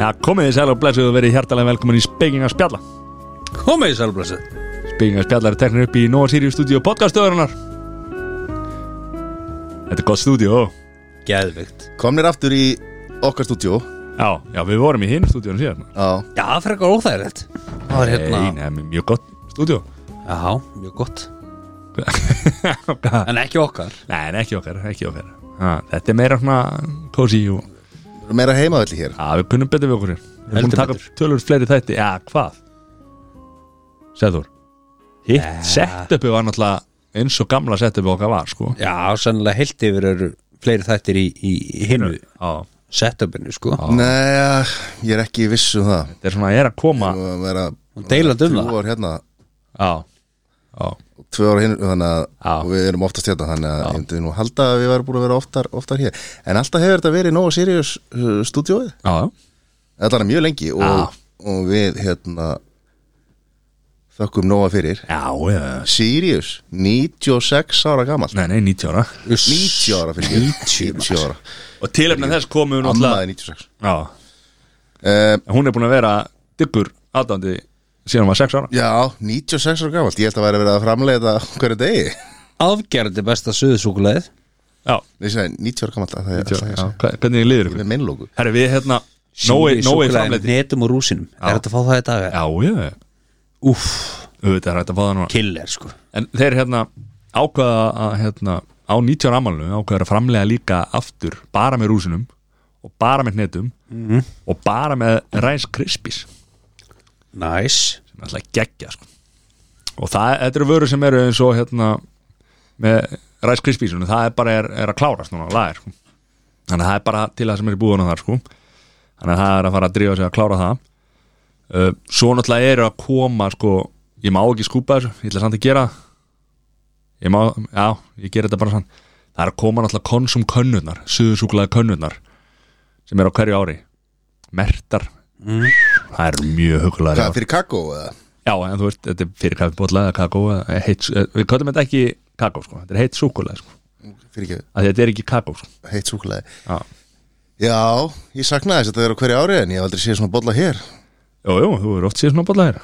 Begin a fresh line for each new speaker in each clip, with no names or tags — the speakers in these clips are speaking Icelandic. Já, komið þið sæl og blessuð og verið hjartalega velkomin í Spekinga Spjalla
Komið í sælblessu
Spekinga Spjalla er teknir upp í Nova Sirius Studio podcastöðurinnar Þetta er gott stúdíó
Geðvikt
Komnir aftur í okkar stúdjó
Já, já, við vorum í hinn stúdíónu síðan
Já,
Já, það fyrir eitthvað óþægilegt Það var hérna
Nei, nei, mjög gott stúdíó
Já, mjög gott En ekki okkar
Nei, nei, ekki okkar, ekki okkar ha, Þetta er meira svona cozy og
við erum meira heimavelli hér
Já, við kunnum betur við okkur hér Við erum
Heldur
búin að taka
betur.
tölur fleiri þætti Já, hvað? Sæður Hitt
Eh,
setupið var náttúrulega eins og gamla setupið okkar var, sko
Já, sennilega heilt yfir eru fleiri þættir í, í í hinu
Já,
setupinu, sko
Já.
Nei, ah, ég er ekki viss um það
þetta er svona, ég er að koma
Við erum að vera
Og deilandi um
Tvö
það
ár hérna
Já, já
Tvö ár hinn Þannig að
Já.
og Við erum oftast hérna Þannig að ég myndi nú halda að við varum búin að vera oftar, oftar hér En alltaf hefur þetta verið Nóa Sirius uh, stúdjóið
Já,
Þetta er mjög lengi
Já.
og, og við hérna Þökkum Nóa fyrir
já, já.
Sirius, 96 ára gamall
Nei, nei, 90 ára
90 ára fyrir ég. 90 ára
Og tilefna þess komum við náttúrulega
Ammaði 96
Já,
uh,
en hún er búin að vera diggur aðdándi síðan hún var 6 ára
Já, 96 ára gamalt, ég held að væri verið að framleiða þetta á hverju degi
Afgerandi besta suðusúkulegð
Já,
Ég sagði 90 ára gamalt, það er
90
alltaf
ára
ég
já.
sagði
Hva- Hvernig liður
Ég er
ykkur?
með meinlóku
Herri, við hérna Nói, Nói framleiti
Netum og rúsinum Er þetta að fá það í dag?
Já, já,
Úff,
auðvitað er hægt að fá það núna
killer, sko
En þeir hérna ákvaða að hérna á 19 ámálunum ákvaða að framlega líka aftur bara með rúsinum og bara með hnetum og bara með ræns krispis
Næs
sem er alltaf geggja sko. og það, þetta eru vörur sem eru eins og hérna með ræns krispisunum það er bara er, er að klárast núna lager, sko. þannig að það er bara til það sem er í búðunum þar sko. þannig að það er að fara að drífa sig að klára það uh, svo náttúrulega eru að koma sko, ég má ekki skúpa þessu ég ætla samt að gera það. ég má, já, ég gera þetta bara sann það er að koma náttúrulega konsum könnurnar suðusúklaði könnurnar sem eru á hverju ári mertar það er mjög hugulega
Hvað, fyrir kakó eða?
Já, en þú veist, þetta er fyrir kaffibólla eða kakó eða heitt, eh, við köllum þetta ekki kakó sko, þetta er heitt súkulega sko
Fyrir ekki,
að þetta er ekki kakó sko
heitt súkulega
Já.
Já, ég saknaði þess að þetta er á hverju ári en ég hef aldrei séð svona bolla hér
Jú, jú, þú er oft síðan svona bólla þér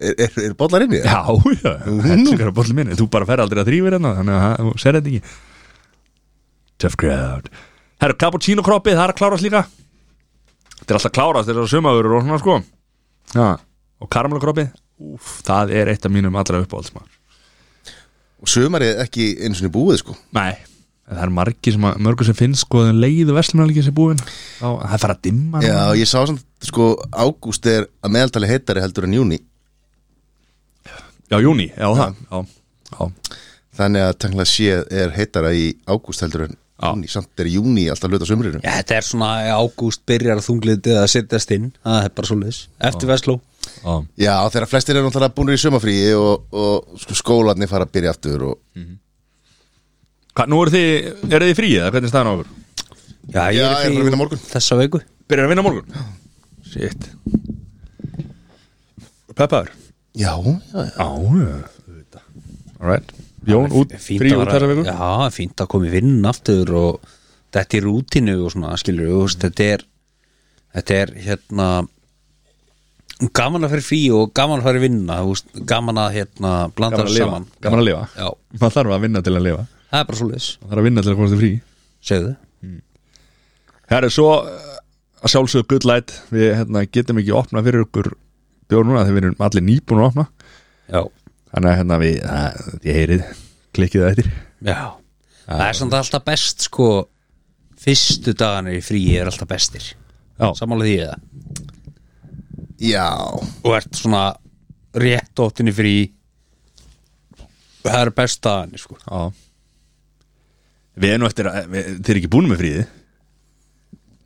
Er, er, er bollar inni?
Já, já, hellingar að bólla minni þú bara fer aldrei að þrýfir hérna, þannig að það- þú ser þetta ekki Tough crowd Herru, cappuccino kroppið, það er að klárast líka Þetta er alltaf að klárast þessar sumavörur og svona sko Já, og karamelu kroppið, úf, það er eitt af mínum allra uppáhaldsmaður
Og sumarið ekki eins og niður búið sko
Nei en Það er margir sem að, mörgur sem finnst sko að leiðu verslunarleikið sem búin þá það er fara að dimma
Já, ég sá samt sko ágúst er að meðaltali heitari heldur en júni
já júni, já það já, já,
Þannig að tengla séð er heitara í ágúst heldur en
Já.
júni Samt er júni alltaf hluta sumrinu
Já, þetta er svona ágúst byrjar þunglindið að sittast inn Það er bara svoleiðis Eftir Vestló
já,
Já, þegar flestir eru náttúrulega búinir í sumafríi og, og sko, skólarnir fara að byrja aftur og,
Hva, Nú eru þið, eru þið frí eða hvernig er staðan á okkur?
Já,
Já, ég er að fara að vinna morgun.
Þessa veiku
Byrjar að vinna á morgun? Sitt Peppaður?
Já, já, já
Já, auðvitað Alright, Jón, út,
Fínt
frí
að
út
vera-
þessa viku?
Já, fínt að koma í vinn aftur og þetta er rútinu og svona skilur við, þú veist, þetta er þetta er hérna gaman að fyrir frí og gaman að fyrir vinna þú veist, gaman að hérna blanda
Gaman að
þessu
lifa,
saman
gaman að lifa
Já,
Maður þarf að vinna til að lifa
það er bara svoleiðis,
Maður þarf að vinna til að komast í frí
segðu
Það er svo uh, að sjálfsögðu good light Við hérna, getum ekki opnað fyrir okkur bjór núna þegar við erum allir nýbúin að opna
Já,
Þannig að hérna við, að, ég heyrið klikkið það eftir
já Það er samt alltaf best sko fyrstu dagarnir í frí er alltaf bestir
Já.
Samanlega því eða
Já,
og ert svona rétt óttinni frí það er best aðan sko.
Já Við erum nú eftir að, við, þeir eru ekki búin með fríði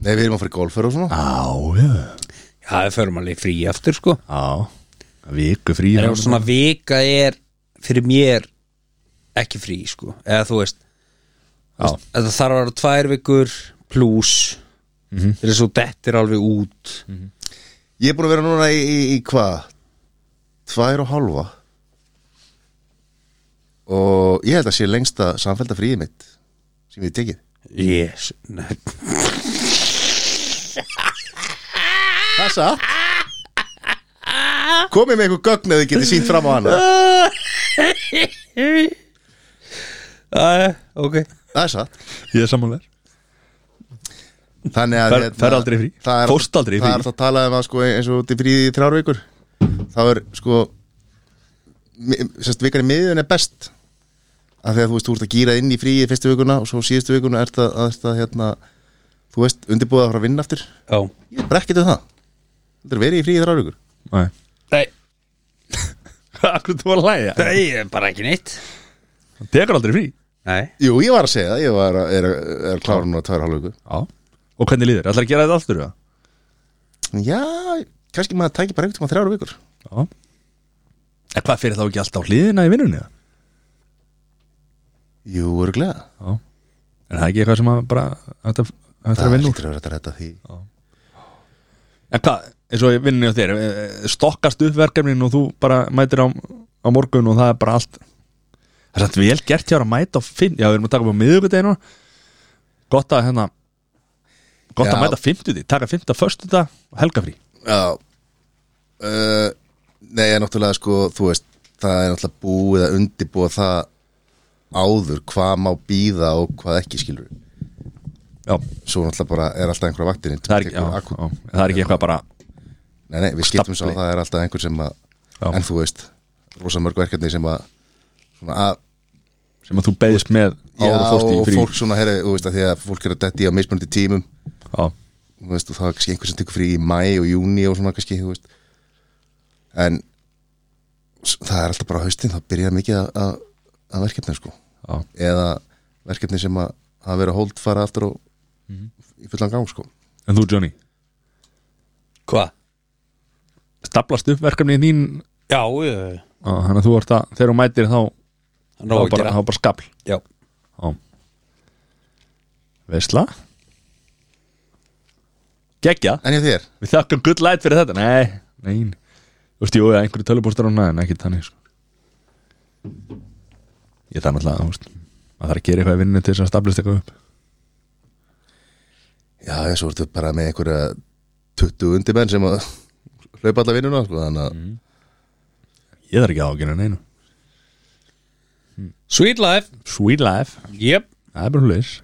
nei, við erum að fara í golfer og svona
Já, já
já, það fyrir maður leið frí aftur sko.
Já Viku frí
er svona vika er fyrir mér ekki frí sko. eða þú veist
Já,
þetta þarf að Mhm. vera tvær vikur pluss mm -hmm. þegar svo dettir alveg út
Ég er búin að vera núna í, í, í hvað? Tvær og hálfa Og ég held að sé lengsta samfælda fríði mitt sem ég hef tekið
Yes Nei.
Það er satt Komið með einhver gögn eða þið getið sínt fram á hana
Æ, Ok
Það er satt
Ég er samanlegar
Þannig að
Fer-
hérna,
fer aldrei í frí.
það er-
Fórst aldrei í
Það
frí.
er alltaf að tala um að sko eins og út í fríði í þrjár vikur Þá er sko mi- Sérst vikar í miðun er best Af því að þú veist, þú ert að gýra inn í fríði fyrstu vikuna og svo síðustu vikuna ert að, að, að hérna, þú veist, undirbúið að fara að vinna aftur
Já
Ég er bara ekkert um það Þetta er verið í fríði í þrjár vikur
Nei
Nei,
Akkur þú var að hlæja
það er bara ekki neitt
Það tekur aldrei frí
Nei
Jú, ég var að segja það, ég var að, er, að- er klára núna tvær hálf viku
Já Og hvernig líður? Ætlar að gera þetta aftur eða?
Já, kannski maður tæki bara einhvern tíma þrjár vikur
Já En hvað fyrir þá ekki alltaf hliðina í vinnunni það?
Jú, örglega
Já En það er ekki eitthvað sem að bara Þetta er að vinna úr
hlýtur að vera þetta því
En hvað, eins og ég vinnunni á þér eh, eh, Stokkast upp verkefnin og þú bara mætir á, á morgun og það er bara allt Það er samt vel gert hjá þér að mæta á finn Já, við erum að taka upp á miðvikudeginu Gott að hérna Gott
Já.
að mæta fimmtudí, taka fimmta, föstudag og helgafrí
Já uh, Nei, ég er náttúrulega sko þú veist, það er náttúrulega búið að undibúa það áður hvað má býða og hvað ekki skilur
Já,
svo náttúrulega bara er alltaf einhverja vaktinni
það er, ekki- já, já, það er ekki eitthvað bara
Nei, nei, við skiptum svo
Stafli.
að það er alltaf einhver sem að
Já.
en þú veist, rosa mörg verkefni sem að svona að
sem að þú beðist með áður og fórst í
og
frí
fólk svona, herri, þú veist að því að fólk er að detti á mismunandi tímum
já,
þú veist, og það er kannski einhver sem tekur frí í mæ og júni og svona kannski, þú veist en s- það er alltaf bara haustin, þá byrjar mikið að- að að verkefni, sko
já,
eða verkefni sem að hafa verið að hold fara aftur og í fullan gang, sko
en þú Johnny
Hva?
staplast upp verkefni í þín
Já, já,
á, þannig að þú ert að, þegar þú mætir þá þá
já Nó að
bara,
gera
þá bara skapl
Já
já. veisla geggja
en ég þér,
við þakkum gull light fyrir þetta nei, nein þú veist, jú, ja, einhverju tölubústar á hana en ekki þannig sko. ég þarf náttúrulega þú veist, maður þarf að gera eitthvað í vinninu til þess að staplast eitthvað upp
já, já, svo ertu bara með einhverja 20 undimenn sem að hlaupa alla vinnuna, sko, þannig að
ég þarf ekki að ágjörna neinu
Sweet life
sweet life,
Jep
það er bara hlutis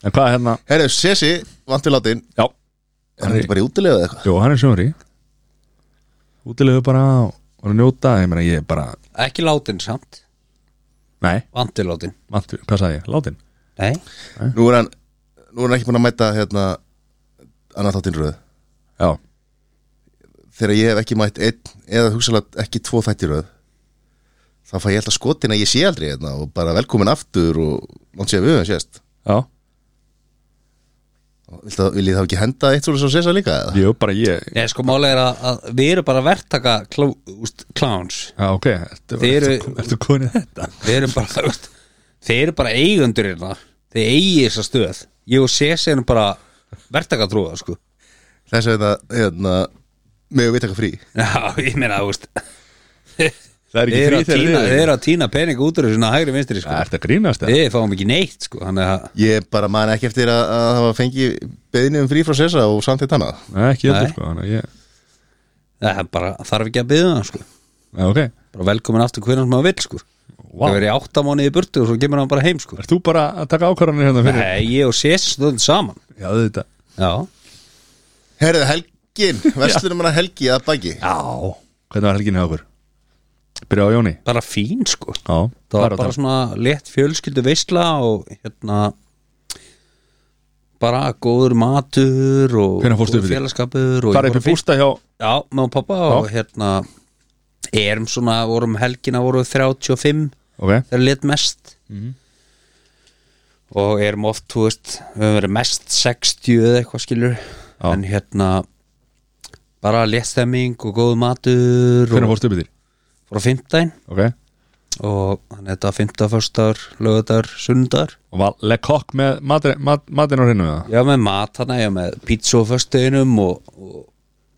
en hvað hérna
herri, Sessi, vant við látin
Já
er hann ekki bara í útilega eða eitthvað?
Jó, hann er sjóri Útilegu bara og, og njóta Ég meina ég bara
Ekki látin samt
Nei,
Vandi látin
mantu, hvað sagði ég? Látin
Nei
Nú er hann, nú er hann ekki búin að mæta hérna, annað þáttinn röð
Já,
þegar ég hef ekki mætt einn eða hugsalega ekki tvo þættir röð þá fæ ég alltaf skotin að ég sé aldrei hérna og bara velkomin aftur og langt sé að við höfum sést
já
Og viltu að- vil ég þá ekki henda eitt svona svo sérsa líka eða?
Jú, bara ég
Nei, sko málega er að, að við erum bara verktaka klá, úst, clowns
Já, ok Ertu,
Þið eru-
ertu, ertu konið þetta?
Við erum bara úst, Þeir eru bara eigundur hérna Þeir eigi þessa stöð Ég og Sesi erum bara verktaka trúða sko
þess vegna hérna með við taka frí
Já, ég meina, úst
Það er Ah,
Þeir
ekki
eru
frí
að tína,
þegar
þeir eru að tína pening út úr þessu svona hægri vinstri
Það
sko
ert að grínast það
Við fáum ekki neitt sko Þannig að
ég bara man ekki eftir að, að hafa fengið beðinu um frí frá sérsa og samt eitt annað
Nei, ekki
Nei.
heldur sko Þannig að ég
það er bara þarf ekki að byggja það sko
Já, ok
Bara velkomin aftur hvernig sem maður vill sko
Vá.
Það verið áttamónið í burtu og svo kemur hann bara heim sko
Ert þú bara að taka ákvarðanir hérna fyrir?
Nei, ég og Sesi stöðum saman
Já, þetta
Já,
herðið helgin, vestlunum hann að helgi að baki
Já Hvernig var helginni hjá okkur? Byrja á Jóni
bara fín sko
Já
það var
á
bara
tal.
svona létt fjölskyldu veisla og hérna bara góður matur og
Hvenær fórstu upp
góður
í þig?
félagskapur og
Fara upp í
ég bara fyrst-
bústa hjá
já, með og pappa og hérna erum svona, vorum helgina voru 35
Ok
þegar létt mest
Mhm.
og erum oft, þú veist við höfum verið mest 60 eða eitthvað skilur
Já.
en hérna bara létt stemming og góður matur
Hvernig
og
fórstu upp í þér?
frá 15
Ok
og þannig að þetta var 15. föstudagur, lögudagur, sunnudagur
Og var Lekokk með matri- mat- matinn á hreinu eða?
Já, með mat hana, já, með pizza á föstuðinum og, og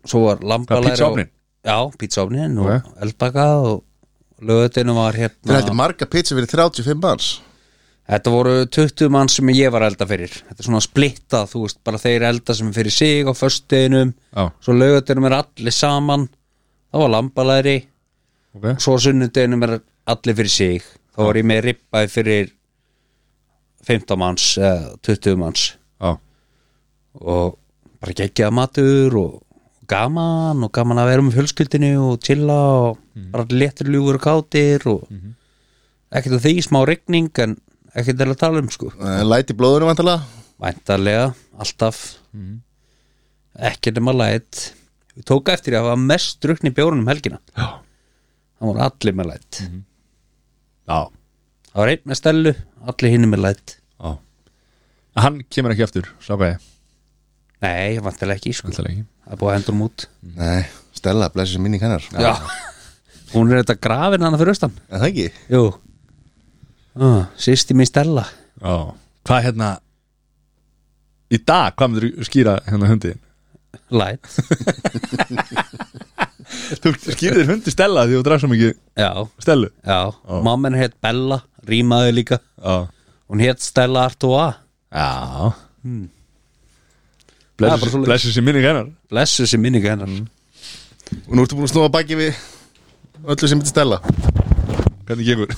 svo var lambalæri
Það var pizzaofninn?
og, Já, pizzaofnin og
Ok.
eldbaka og lögutinu var
Þeir
hérna
hætti marga pizza fyrir 35 manns
Þetta voru 20 mann sem ég var að elda fyrir Þetta er svona splittað, þú veist, bara þeir elda sem er fyrir sig á föstudeginum
Já.
Svo lögudeginum er allir saman Það var lambalæri
okay.
Svo sunnudeginum er allir fyrir sig Þá var ég með ribbaði fyrir 15 manns, eh, 20 manns
Já,
Og bara geggjaða matur og gaman og gaman að vera með fjölskyldinu og chilla og bara léttur ljúfur og kátir og ekkert að því smá rigning en ekkert til að tala um sko
Eh, Læti í blóðunum vantarlega
væntarlega, alltaf ekki nema læt við tók eftir ég að það var mest drukni bjórunum um helgina
já,
það voru allir með læt
já.
það var einn með stellu, allir hinn með læt
já. Hann kemur ekki eftir, sáka ég
nei, vantarlega ekki sko
Ætlaði ekki
það er búið að hendur um út
Nei, Stella, blessi sem minning hennar
já. hún er þetta grafin hana fyrir austan
Er það ekki?
jú ah, sýsti mín stella
Já, hvað hérna Í dag, hvað myndir skýra hérna hundi
læt,
Þú skýrir þér hundi stella því þú draf svo mikið
já,
stelu
já mamma henni hétt Bella, rýmaði líka
Já,
hún hétt Stella Artois
já. Hmm.
Það er bara
Blessu,
svoleiðis.
blessu sér minning hennar
blessu sem minningu hennar
Og nú ertu búin að snúa baki við öllu sem myndi Stella
Hvernig gengur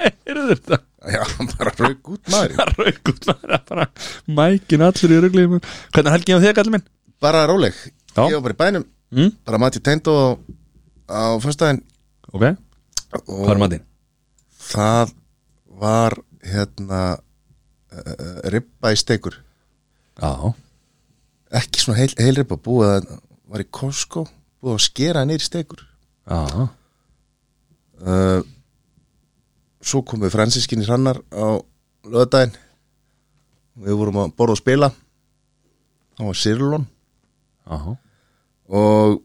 Er þetta
Já, bara rauk út maður
Raugut maður að bara Mækin allur í rugliðum Hvernig er helgin á þig allir minn?
Bara róleg
Já.
Ég var bara í bænum
Mm.
Bara mati tengd og á fyrstæðin
Ok, hvað er matinn?
Það var hérna uh, ribba í stekur
Já,
Ekki svona heil, heil ribba Búið að var í Costco Búið að skera nýr stekur
já,
uh, Svo komu fransiskinni hrannar á löðdæðin Við vorum að borða og spila Það var Sirlón
já
og uh, uh, uh,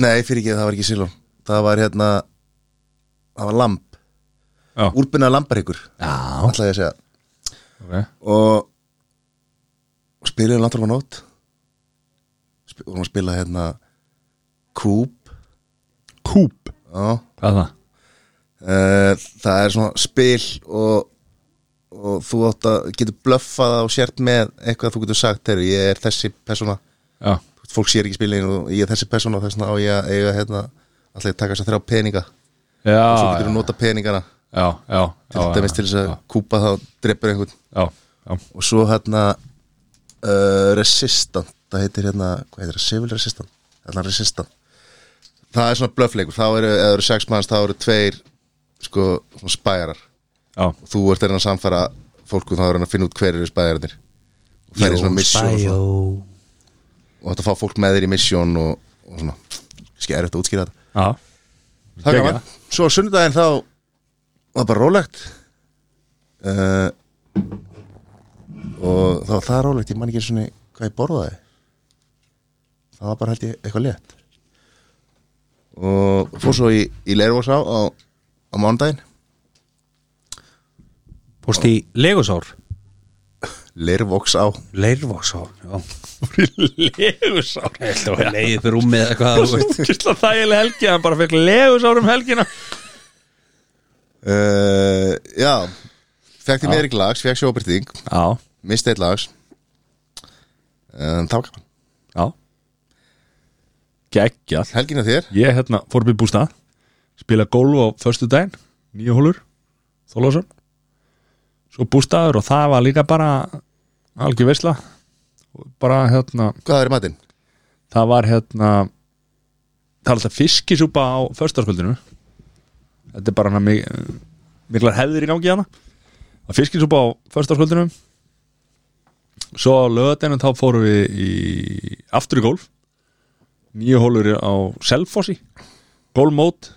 Nei, fyrir ekki, það var ekki Sirlón Það var hérna Það var lamp
Já.
Úrbinna lambaríkur,
Já,
ætlaði ég að segja
ok Já,
Og, og spilaði landur var nótt Sp Vorum að spila hérna Kúp Kúp? Já
hvað er það?
Eh, það er svona spil og, og þú átt að getur blöffað og sért með eitthvað þú getur sagt þegar ég er þessi persóna
Já,
Þú veist, fólk sér ekki spilin og ég er þessi persóna og þess vegna á ég að eiga hérna alltaf ég að taka þess að þrjá peninga
já,
svo getur
já,
þú nota peningana
já, já,
til
já,
dæmis til þess að kúpa þá dreipur einhvern
já, já,
og svo hérna uh, Resistant, það heitir hérna hvað heitir það, Civil Resistant, hérna Resistant það er svona blöffleikur þá eru, eða eru sex manns, þá eru tveir sko, svona spæjarar
já,
og þú ert að reyna að samfara fólku þá er hann að finna út hver eru spæðarinnir og það er svona misjón og, svona.
Bæjó
og þetta fá fólk með þér í misjón og, og svona, kannski er þetta að útskýra þetta
já
það er
Geggjað.
gaman, svo á sunnudaginn þá var bara rólegt uh, og þá var það rólegt ég man ekki svona hvað ég borðaði það var bara held ég eitthvað létt og fór svo í, í Leirvósá á, á mánudaginn
Búst í Legosár
Leirvóksá
Leirvóksár, já
Legusár
Þetta var leið fyrir rúmið eða hvað þú veist
Kistla þægileg helgi, hann bara fekk legusár um helgina
Uh, já Fekk því meðri glags, fekk sjóbyrting
Já,
Misti eitt lags um, Það var gaman
já Geggjall
Helgina þér
Ég hérna fór upp í bústað Spila gólf á föstu daginn Nýju hólur Þólásson Svo bústaður og það var líka bara Algjör veisla Og Bara hérna
Hvað er í matinn?
Það var hérna Það var alltaf fiskisúpa á föstaskvöldinu Þetta er bara hana mig, Miklar hefðir í gangi hana Það var fiskisúpa á föstaskvöldinu Svo á lögadeginu Þá fórum við í Aftur í golf Nýju hólur á Selfossi Golfmót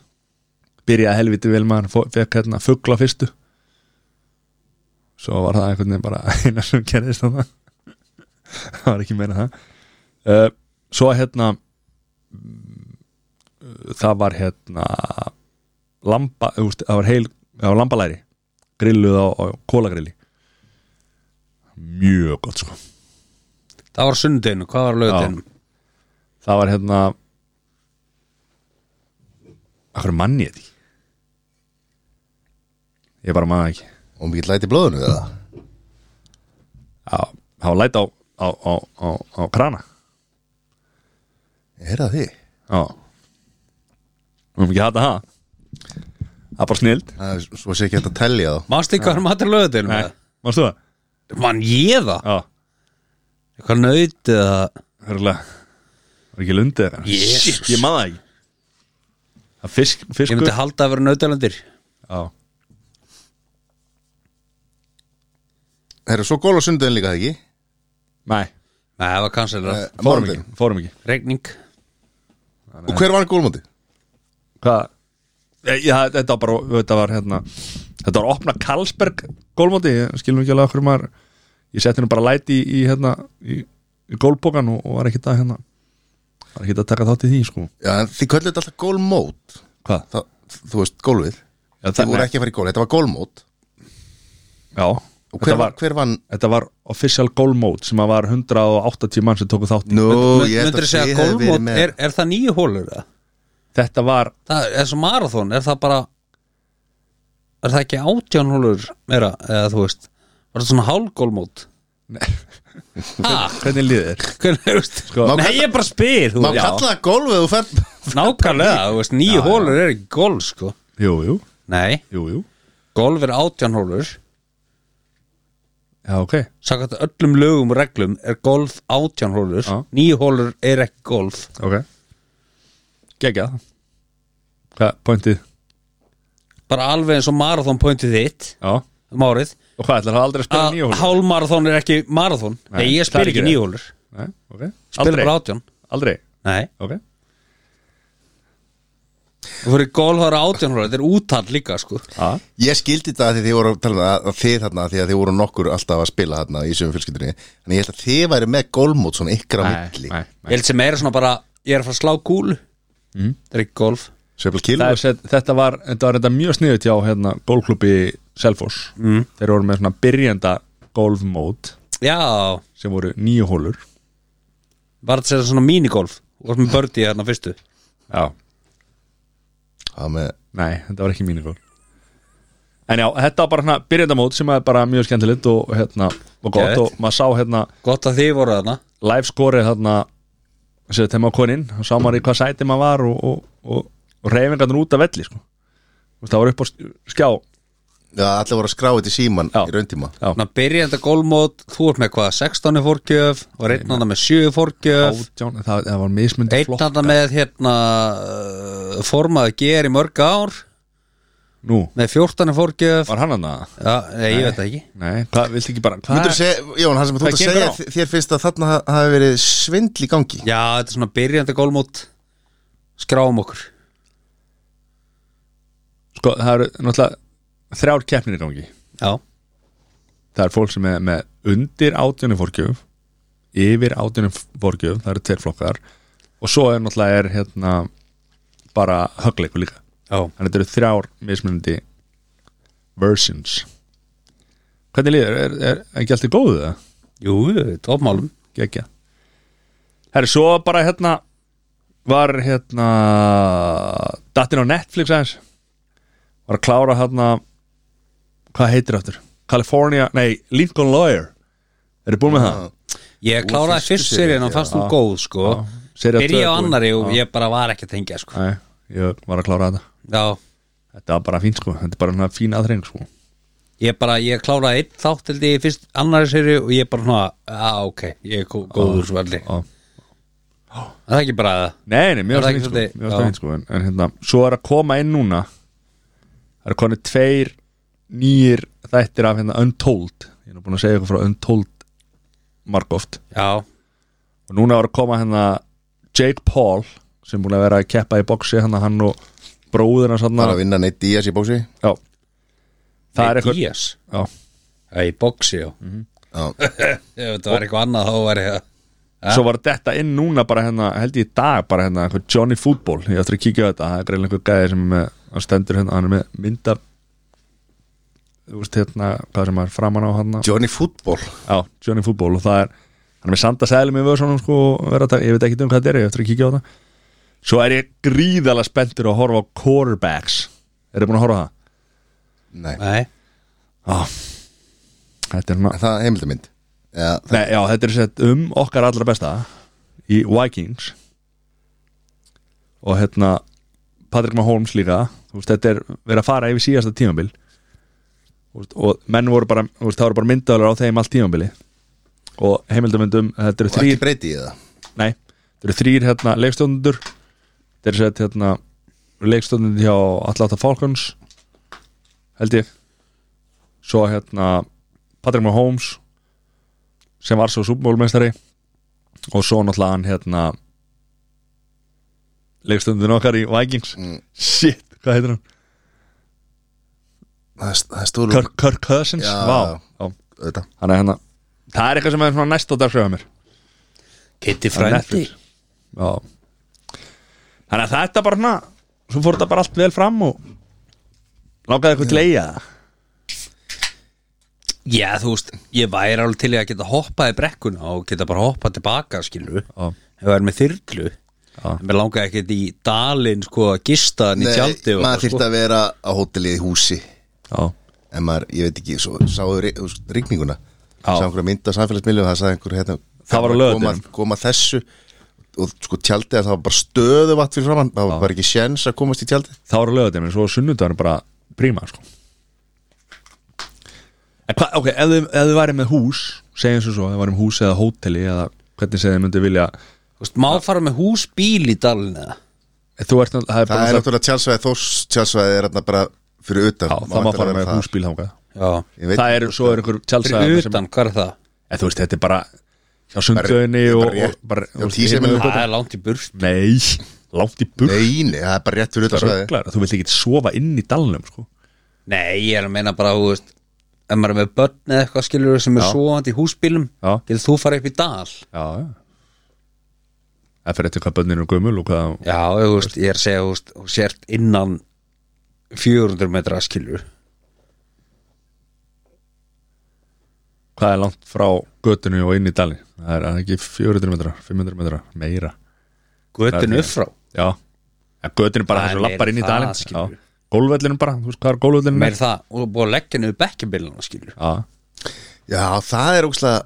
Byrjaði helviti vel maður fó- Fekk hérna fugla fyrstu Svo var það einhvern veginn bara Einar sem gerðist þarna Það var ekki meina það uh, svo hérna mm, uh, það var hérna lamba, úst, það var heil það var lambalæri grilluð á, á kólagrilli mjög gott sko
Það var sundinu, hvað var lögdinu?
það var hérna Akkur manni ég því Ég bara manna ekki
Og mikið læti í blóðinu við það
Já, það var læt á, á, á, á, á krana
Ég heyrði það því
Já Við erum ekki að þetta það Það er bara snild
Það er- Svo sé ekki hægt að tellja þá
Manstu ekki hvað var matur lögdinu?
Nei, varstu það?
Man ég það?
Já,
Eitthvað nautið að
hörlega Var ekki lundið það?
Jesus.
Shit, ég manna ekki Það er fisk,
Ég
fiskur
myndi halda að vera nautalandir
Já
Það er svo gól á sundöðin líka það ekki
Nei,
Nei, það var
Eh,
kansalera
fórum ekki, fórum ekki
Regning
Og hver var gólmóti?
Hvað? Já, þetta var bara, þetta var hérna Þetta var opna Karlsberg gólmóti Ég skilum ekki alveg okkur maður Ég setti henni bara læti í, í hérna í, í gólbókan og, og var ekkit að hérna Var ekkit að taka þátt í því, sko
Já, en þið kölluðu þetta alltaf gólmót
Hvað?
það, Þú veist, gólfið
Já,
Þið voru ekki að fara í gól, þetta var gólmót
Já,
Og
þetta
hver,
var,
var, hver vann?
þetta var official gólmót sem að var 180 mann sem tóku þátt í
Nú,
Möndur segja gólmót, er, er það nýju hólur? eða?
Þetta var,
Það er svo marathón, er það bara Er það ekki átján hólur meira, eða þú veist Var það svona hálgólmót? Nei
hvernig liðið er?
Hvernig, þú veist
Sko-
Nei, ég bara spyr, þú
Má
veist
kalla það gólfið þú fer
Nákvæmlega, þú veist, nýju hólur er ekki gólf, sko
Jú, jú,
Nei,
jú, jú
gólf er átján hólur
Já, ok
Sakat öllum lögum og reglum er golf átján hólur
Já.
Nýju hólur er ekki golf
Ok Gekja Hvað, pointið?
Bara alveg eins og marathón pointið þitt
Já Og
um árið
hvað, ætlar það aldrei að spila
að
nýja hólum?
hálmarathón er ekki marathón Nei,
Nei,
ég
það er
spyr
ekki
ekki
rétt.
nýju hólur
Nei, ok
Spyr
Aldrei
bara átján
Aldrei,
Nei,
ok
þú fyrir golf ára átján hólur Þetta er úthald líka, sko
A,
Ég skildi þetta að því þið voru að tala um það að þið þarna því að þið voru nokkur alltaf að spila þarna í sögum fjölskyldunni Þannig ég held að þið væri með gólmót svona ykkur á milli
Ég held sem meira svona bara, ég er að fara að slá kúlu mm. Það er ekki golf
Sveifla kílur
Það er sett, þetta var, þetta var þetta mjög sniðut hjá hérna, gólklubbi Selfoss mm. Þeir voru með svona byrjenda golfmót
Já,
sem voru nýju hólur
var þetta sér svona mínigolf Þú varst með bördi hérna fyrstu
Já
Já, með
Nei, þetta var ekki mínu gól En já, þetta var bara hérna byrjendamót sem er bara mjög skemmtilegt og hérna og gott
Geðveikt.
og maður sá hérna
Gott að þið voru þarna
live skorið þarna sem þegar maður koninn og sá maður í hvað sæti maður var og, og, og, og reyfingarnir út af velli sko. Þú veist, það var upp á skjá
Já, allir voru að skrá þetta í síman
Já.
í rauntíma
Ná, byrjandi gólmót, þú ert með hvað 16 fórgjöf, var einn andan með 7 fórgjöf
átján, það, það var mismundi
einn
flokk
andan með hérna uh, formaði ger í mörg ár
nú,
með 14 fórgjöf
var hann hann að
Já, nei, ég veit það ekki
nei, hvað, viltu ekki bara hvað,
Myndur segja, Jón, það sem þú
Það
ert að
kemur
segja
á.
þ- þér finnst að þarna ha- hafi verið svindl í gangi
Já, þetta er svona byrjandi gólmót skráum okkur
sko, það eru náttúrulega þrjár keppnir í gangi
Já,
það er fólk sem er með undir átjónu fórgjöf yfir átjónu fórgjöf, það eru tveir flokkar og svo er náttúrulega er hérna bara högleikur líka
já
Þannig að þetta eru þrjár mismunandi versions Hvernig líður? Er, er, er ekki allt í góðu það?
Jú, topmálum
Gekja Herri, svo bara hérna var hérna dattinn á Netflix aðeins var að klára hérna hvað heitir aftur? California, nei, Lincoln Lawyer Er þið búin með það?
Ég kláraði
fyrstu
fyrst seríun og fannst hún góð sko
Serið
Byrja á annari og ég bara var ekki að tengja sko
Nei, ég var að klára þetta
Já,
Þetta var bara fín sko, þetta er bara hérna fín aðrein sko
ég bara, ég kláraði einn þátt held ég í fyrst annari séri og ég bara svona, að ok, ég er gó- góður svalli
Já.
Það er ekki bara það
Nei, nei, mér
Er
varst
það
fínt
ekki
sko,
svolítið-
mér varst
já.
fínt sko en, en hérna, svo er að koma inn núna Það eru konið tveir nýjir þættir af hérna Untold Ég er nú búin að segja ykkur frá Untold margóft
Já,
Og núna var að koma hérna Jake Paul sem er búin að vera að keppa í boxi hann, hann og bróðina svona
Það er að vinna neitt Díaz í bóksi
Já Það er
Nei,
eitthvað Mhm.
Díaz
Já,
Það í boxi, já
Já,
Ef þetta var eitthvað annað þá væri það
Svo var þetta inn núna bara hérna, held ég í dag bara hérna, einhver Johnny Football, ég ætla að kíkja á þetta það er greinlega einhver gæði sem er með, hann stendur hérna, hann er með mynda þú veist hérna, hvað sem er framan á hann
Johnny Football
já, Johnny Football og það er hann er með sanda sæðlum í vöðsónum sko og verður að taka- ég veit ekki um hvað þetta er, ég á eftir að kíkja á það svo er ég gríðalega spenntur að horfa á quarterbacks eru búin að horfa á það?
Nei,
Nei,
Þetta er hann
En það er heimildamind Já, það,
Nei, já, þetta er sett um okkar allra besta í Vikings og hérna Patrick Mahomes líka þú veist, þetta er verið að fara yfir síðasta tímabil Þú veist, og menn voru bara þú veist, það voru bara myndaðalega á þeim allt tímabili og heimildamöndum þetta eru
og ekki
þrýr,
breyti ég það
nei, þetta eru þrýr hérna, leikstjónundur þetta eru sett hérna leikstjónundur hjá Atlanta Falcons held ég svo hérna Patrick Mahomes sem var svo súbmólmeistari og svo náttúrulega hann hérna leikstundin okkar í Vikings
Mm.
shit, hvað heitir hann?
Það er- Það er stóru
Kirk, Kirk Cousins?
Já.
Vá, já.
Þetta
hann er hérna það er eitthvað sem er svona næst á dagskröða mér
Kitty
Það er
Frændi
Netflix. já þannig að þetta bara svona svo fór þetta bara allt vel fram og langaði eitthvað til að eiga það
Já, þú veist, ég væri alveg til í að geta hoppað í brekkuna og geta bara hoppað tilbaka, skilur
Já.
Ef það er með þyrlu En mér langaði ekkert í dalinn, sko, að gista hann í tjaldi og,
maður
sko.
þyrfti að vera á hótelið í húsi
já,
En maður, ég veit ekki, svo sáðu ri- þú veist, rigninguna
Já.
Sá einhverja mynd á samfélagsmiðlum Það sagði einhver hérna
Það var á
koma,
laugardögum.
koma þessu Og sko tjaldið að það var bara stöðu vatn fyrir framann Það var ekki sjens að komast í tjaldið
þá eru lögadæmi svo sunnudagurinn bara príma sko. en hvað, ok, ef þið, ef þið væri með hús segjum sem svo, ef þið væri með hús eða hóteli eða hvernig segið þið myndi vilja
Þú veist, má fara með húsbíl í dalinn eða
þú ert, náttúrulega- það er
Það
bara
er
það,
náttúrulega tjaldsvæði Þórs tjaldsvæði er hérna bara fyrir utan
já, það má fara
væntanlega
með
það.
húsbíl þangað
Já,
Ég veit
það
ekki
er,
hvort
svo er einhver tjálsæðar
fyrir
sem,
utan, hvað er það?
en þú veist, þetta er bara hjá sundlöginni og,
Bara- bara
og
rétt-
bara,
hjá
þú veist,
Tísheimilinu.
hinum-
Það er langt í burst
nei, langt í burð
Nei, nei, það er bara rétt fyrir utan svæði
þú vilt ekki sofa inn í dalnum sko.
Nei, ég er að meina bara, þú veist Ef maður er með börn eða eitthvað, skilur sem er svoandi í húsbílum
Já.
Getur þú fara upp í dal?
já, já það fyrir eftir hvað bönnir eru gömul og hvað
Já, ég, þú veist, ég er að segja, þú veist, þú sért innan 400 metra, skilur
hvað er langt frá götunni og inn í dalin það er það er ekki 400 metrar, 500 metrar meira,
Göttin
Það er-
upp frá
já en götunni bara
Það
þess
er
að lappar inn í
meira það, skilur.
dalin gólvellinu bara, þú veist hvað er gólvellinu
Meir það, og búið að leggja niður bekkjabillana, skilur
já,
Já, það er ógslag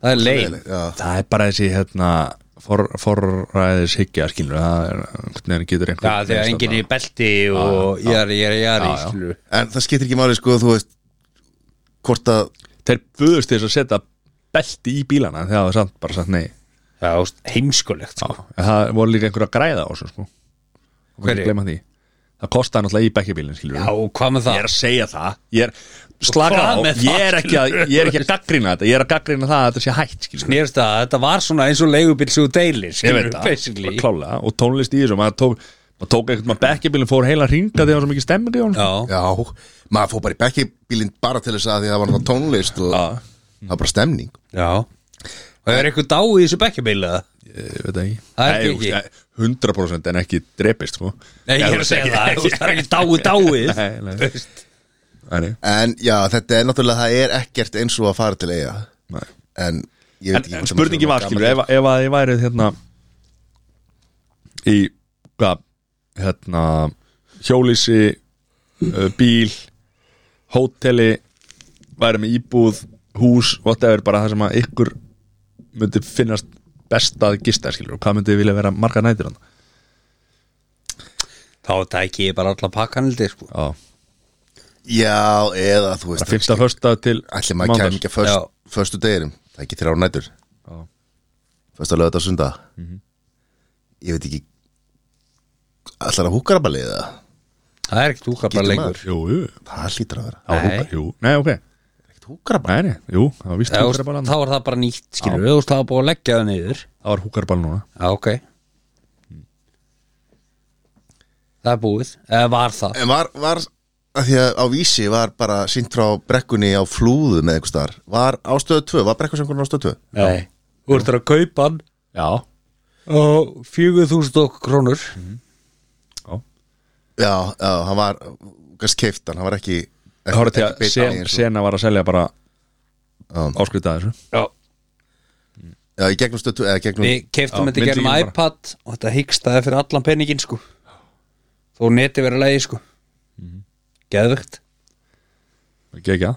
Það er leið
Já,
það er bara þessi hérna for, forræðis hyggja skilur, það er hvernig hann getur einhver
Já, þegar enginn er í belti og jari, jari, jari,
Já, já.
skilur
en það skiptir ekki máli sko, þú veist Hvort að
þeir buðust þess að setja belti í bílana þegar það var samt bara sagt nei já,
Já, þú veist, heimskulegt, sko
en það voru líka einhver að græða á þessu sko Og
Hverju?
ekki gleyma því. það kostaði náttúrulega í bekkjabílinn skilur
Já, og hvað með
ég
það?
er að segja það ég er slakað
Hvað
á,
með
ég er
það,
ekki að, ég er ekki að gaggrina þetta ég er að gaggrina það að þetta sé hætt skilur.
Snýrst það, þetta var svona eins og leigubill svo deilir,
ég
skilur,
veit það,
basically
bara klálega og tónlist í þessu, maður tók maður tók einhvern maður bekkjabilin fór heila hringa þegar það var svo mikið stemmir í honum
Já,
Já, maður fór bara í bekkibílinn bara til þess að því að það var náttúrulega tónlist og
Já.
það var bara stemning
já Og er eitthvað dái í þessu bekkjabill, eða?
ég veit það ekki
Það er
Nei,
ekki.
þú veist, 100% en ekki drepist sko.
Nei, ég er að segja það, þú veist, það er ekki dái, dái
Nei, nei.
Þú veist,
Nei, nei.
En já, þetta er náttúrulega, það er ekkert eins og að fara til eiga
Nei.
En
en,
ég veit ekki
en
hvort það
spurningi
maður
var
sé
skilur
gamall.
ef, ef að þið værið hérna í hvað hérna hjólísi uh, bíl hóteli værið með íbúð hús, whatever, bara það sem að ykkur myndi finnast best að gista skilur, hvað myndi þið vilja vera marga nætur hann
Þá tæki ég bara alla pakkanildi, sko
Já,
Já, eða þú
bara
veist
fyrsta hösta til
Ætli maður kæm
mánudags.
ekki að
Já.
föst, föstu deginum Það er ekki þrjá nætur
Já.
Föstu að löða þetta sunda
Mhm.
Ég veit ekki Allar að húkarabali eða
Það er ekkert úka bara
Getur
lengur
maður.
Jú, jú,
Það hlýtur að vera
það var
Nei.
húka, jú Nei, ok,
Ekkert húkarabali
nei, nei, jú, það var víst
Já, þú veist,
húkarabal
Þá er það bara nýtt, skilur við, þú veist, það er búið að leggja það niður
Það var húkarabal núna
Já, ok Það er búið, eða var það
En var, var að Því að á vísi var bara Sýnt frá brekkunni á flúðu með einhvers staðar Var ástöðu 2, var brekkusengurinn ástöðu 2
Nei, þú ert að kaupa hann
Já,
og 4000 okkur krónur
já
Já, já, hann var Gast keift hann, hann var ekki
Ég horfði til að
beint
sen,
aðeins og-
Sena var að selja bara
Já.
áskrita þessu
Já,
Já, í gegnum stötu eða gegnum
Við keiftum
Já,
þetta í gerum
myndlíkin bara.
iPad og þetta hyggstaði fyrir allan peningin sko þó neti verið leiði sko geðvögt
Gekja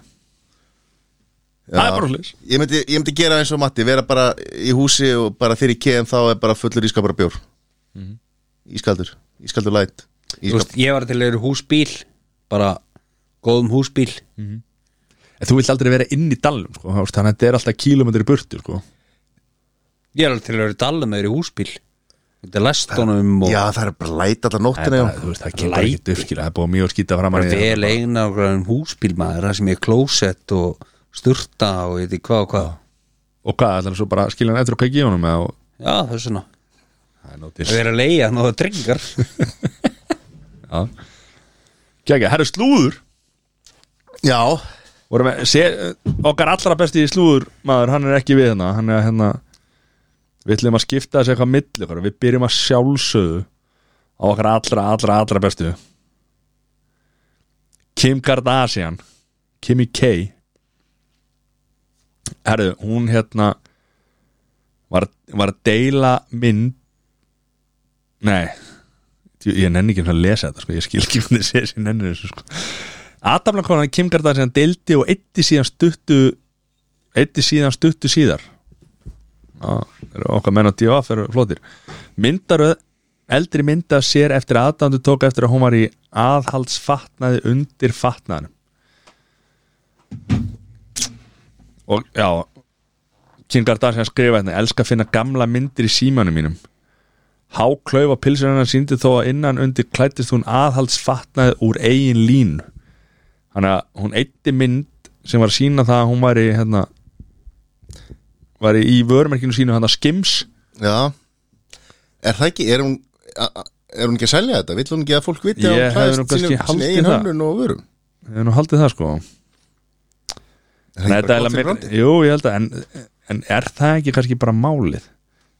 Það er bara hlis
Ég myndi, ég myndi gera eins og Matti, vera bara í húsi og bara þegar ég kem þá er bara fullur ískapara bjór
Mhm.
Ískaldur, ískaldur light Ískap...
veist, ég var til að eru húsbíl bara góðum húsbíl
En þú vilt aldrei vera inn í dalnum sko, þú veist, þannig að þetta er alltaf kílómetri í burtu sko.
ég er alveg til að eru dalla með þeir í húsbíl þetta er lestunum og
Já, það er bara light alltaf nóttina
Það,
já.
þú veist, það kemur ekki dufkila Það er búið mjög að skýta fram
bara
að
vel eigna og græðum húsbíl maður það sem er klósett og sturta og ég veit ekki hvað og hvað
Og hvað, ætlar það svo bara að skilja hann eftir og kækja í honum eða-
já það er svona
Það er nótis
það er að leiða hann og það drengar
Gekja, herru slúður
já,
Vorum við, se, okkar allra besti slúður maður, hann er ekki við hérna hann er hérna við ætlum að skipta þessu eitthvað milli okkar. við byrjum að sjálfsögðu á okkar allra, allra, allra bestu Kim Kardashian Kimi K herðu, hún hérna var, var að deila mynd nei Djú, ég nenni ekki einu sinni að lesa þetta sko. ég skil ekki hvernig þessi ég nenni þessu sko. Adamla konan Kim Kardashian deildi og eitti síðan stuttu eitti síðan stuttu síðar Já, eru okkar menn á D.O.F. eru flottir Myndaröð, eldri mynda sér eftir að Adandu tók eftir að hún var í aðhaldsfatnaði undir fatnaðanum og já Kim Kardashian skrifa hérna elska að finna gamla myndir í símanum mínum Háklaufa pilsur hennar síndi þó að innan undir klættist hún aðhaldsfatnaði úr eigin línu Þannig að hún eitti mynd sem var að sína það að hún væri hérna, væri í vörumerkinu sínu hann að skims
já Er það ekki, er hún a- a- Er hún ekki að selja þetta? Vill hún ekki að fólk viti að
Ég
hún
hefði
klæðist
nú kannski
sínum- sinni
haldið
eigin
það.
hönnun og vörum
ég hef nú haldið það sko
Er það
Nei,
ekki
þetta er
bara gott
eiginlega
fyrir
meira-
randi?
Jú, ég held að en, en er það ekki kannski bara málið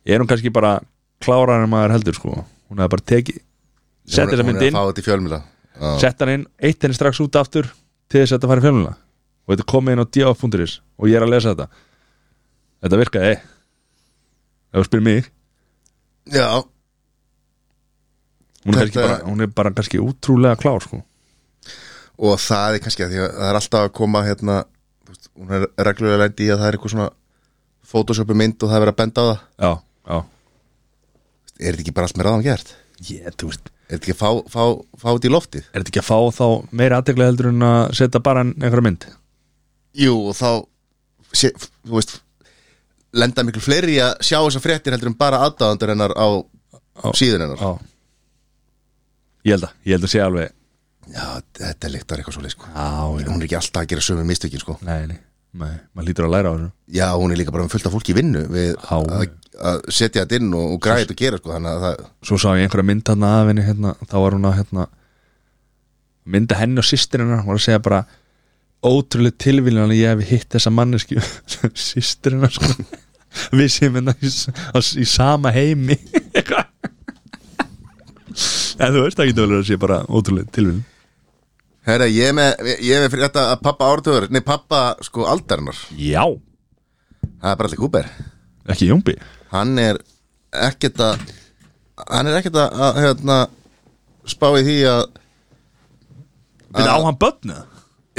er hún kannski bara klárar en maður heldur sko hún hefði bara tekið sett þessa
Hún er
mynd
að
inn,
fá þetta í fjölmila
sett hann inn eitt henni strax út aftur til þess að þetta fari fjöluna og þetta komið inn á df.is og ég er að lesa þetta þetta virkaði ef þú spyrir mig
Já,
hún er, kannski
Þetta-
bara, hún er bara kannski útrúlega klár sko
og það er kannski að því að það er alltaf að koma hérna, þú veist, hún er reglulega lendi í að það er eitthvað svona photoshopu mynd og það er verið að benda á það
já, já
er þetta ekki bara allt með ráðan gert?
ég, þú veist
er þetta ekki að fá, fá, fá þetta í loftið?
er þetta ekki að fá þá meira aðtegla heldur en að setja bara einhverja mynd
Jú, og þá sé, þú veist lenda miklu fleiri í að sjá þessar fréttir heldur en bara aðdáðandur hennar á
Á.
síðun hennar
já ég held að, ég held að sé alveg
Já, þetta líktar eitthvað svolítið sko
já,
hún er ekki alltaf að gera sömu mistökin sko
nei, nei, nei, maður lítur að læra á þessu
Já, hún er líka bara með fullt af fólki í vinnu við
Já.
að, að setja þetta inn og, og græða þetta og gera sko þannig að það,
svo sá ég einhverja mynd hann af henni hérna, þá var hún að hérna, mynda henni og sýstir hennar hún var að segja bara ótrúlega tilvíðan að ég hef hitt þessa manneski sýstir hennar sko við séum hérna í, á, í sama heimi en þú veist það getur vel verið að sé bara ótrúlega tilvíðan
Herra, ég er með, ég er með fyrir þetta að pappa ártöður, nei pappa sko aldarinnar,
já,
það er bara allir kúper
ekki Jónbi
Hann er ekkert að, hann er ekkert að, að hérna, spá í því að,
Við á hann börnu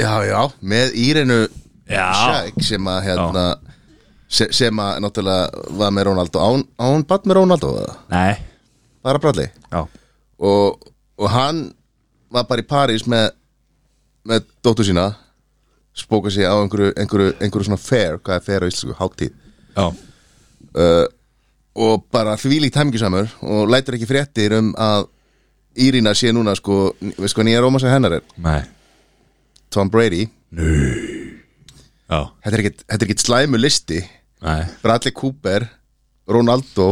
já, já, með Írinu
Já.
Shaq sem að, hérna, se, sem að náttúrulega var með Rónaldó, á hún, á hún batt með Rónaldó, eða?
Nei
bara bralli
Já
og, og hann var bara í París með, með dóttu sína spóka sig á einhverju, einhverju, einhverju svona fair, hvað er fair á íslensku, hátíð
Já
og bara þvílíkt hæmingisamur og lætur ekki fréttir um að Írina sé núna sko, veist hvað nýja róma sem hennar er
Nei
Tom Brady,
Já
þetta er ekkit, þetta er ekkit slæmu listi
Nei
Bradley Cooper, Ronaldo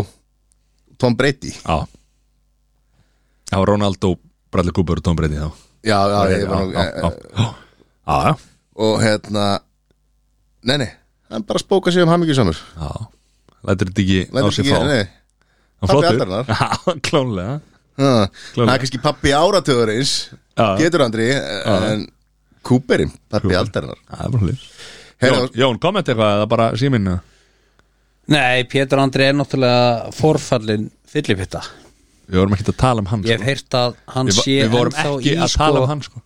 Tom Brady
Já Það var Ronaldo, Bradley Cooper og Tom Brady þá
já, já, ég var nú eh,
Já, já, já. Já, já
og hérna nei, nei, hann bara spóka sig um hæmingisamur
Já Lætur þetta ekki á
lætur
sig
ekki,
fá
nei
Hann
Pabbi
flottur.
aldarinnar.
Já, klónlega
Ha,
Klárlega.
Það er kannski pappi áratöður eins
Já.
Getur Andri En Kúperinn, pappi aldarinnar
Það er bara hlýr Jón,
Herra,
Jón komment eitthvað eða bara síminn eða?
Nei, Pétur Andri er náttúrulega forfallin fyllipitta
Við vorum ekki að tala um hann
Ég hef
sko.
heyrt að hann
við,
sé
við vorum
ennþá
ekki
í,
að tala um hann sko.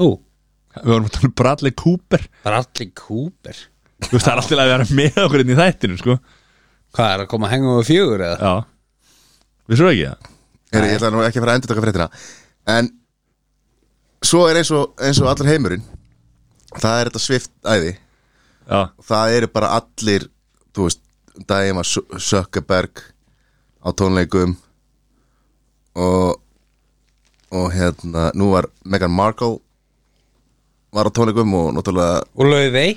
Nú,
Við vorum að tala um Bradley Cooper
Bradley Cooper
Þú veist það er alltaf að vera með okkur inn í þættinu sko.
Hvað er að koma að henga um fjögur eða?
Já Vissu ekki það?
Herri, ég ætla nú ekki að fara að endur taka fréttina En Svo er eins og, eins og allir heimurinn Það er þetta svift æði
Já,
Það eru bara allir Þú veist, dæma Sökkeberg Á tónleikum Og Og hérna, nú var Meghan Markle Var á tónleikum og náttúrulega
Og Laufey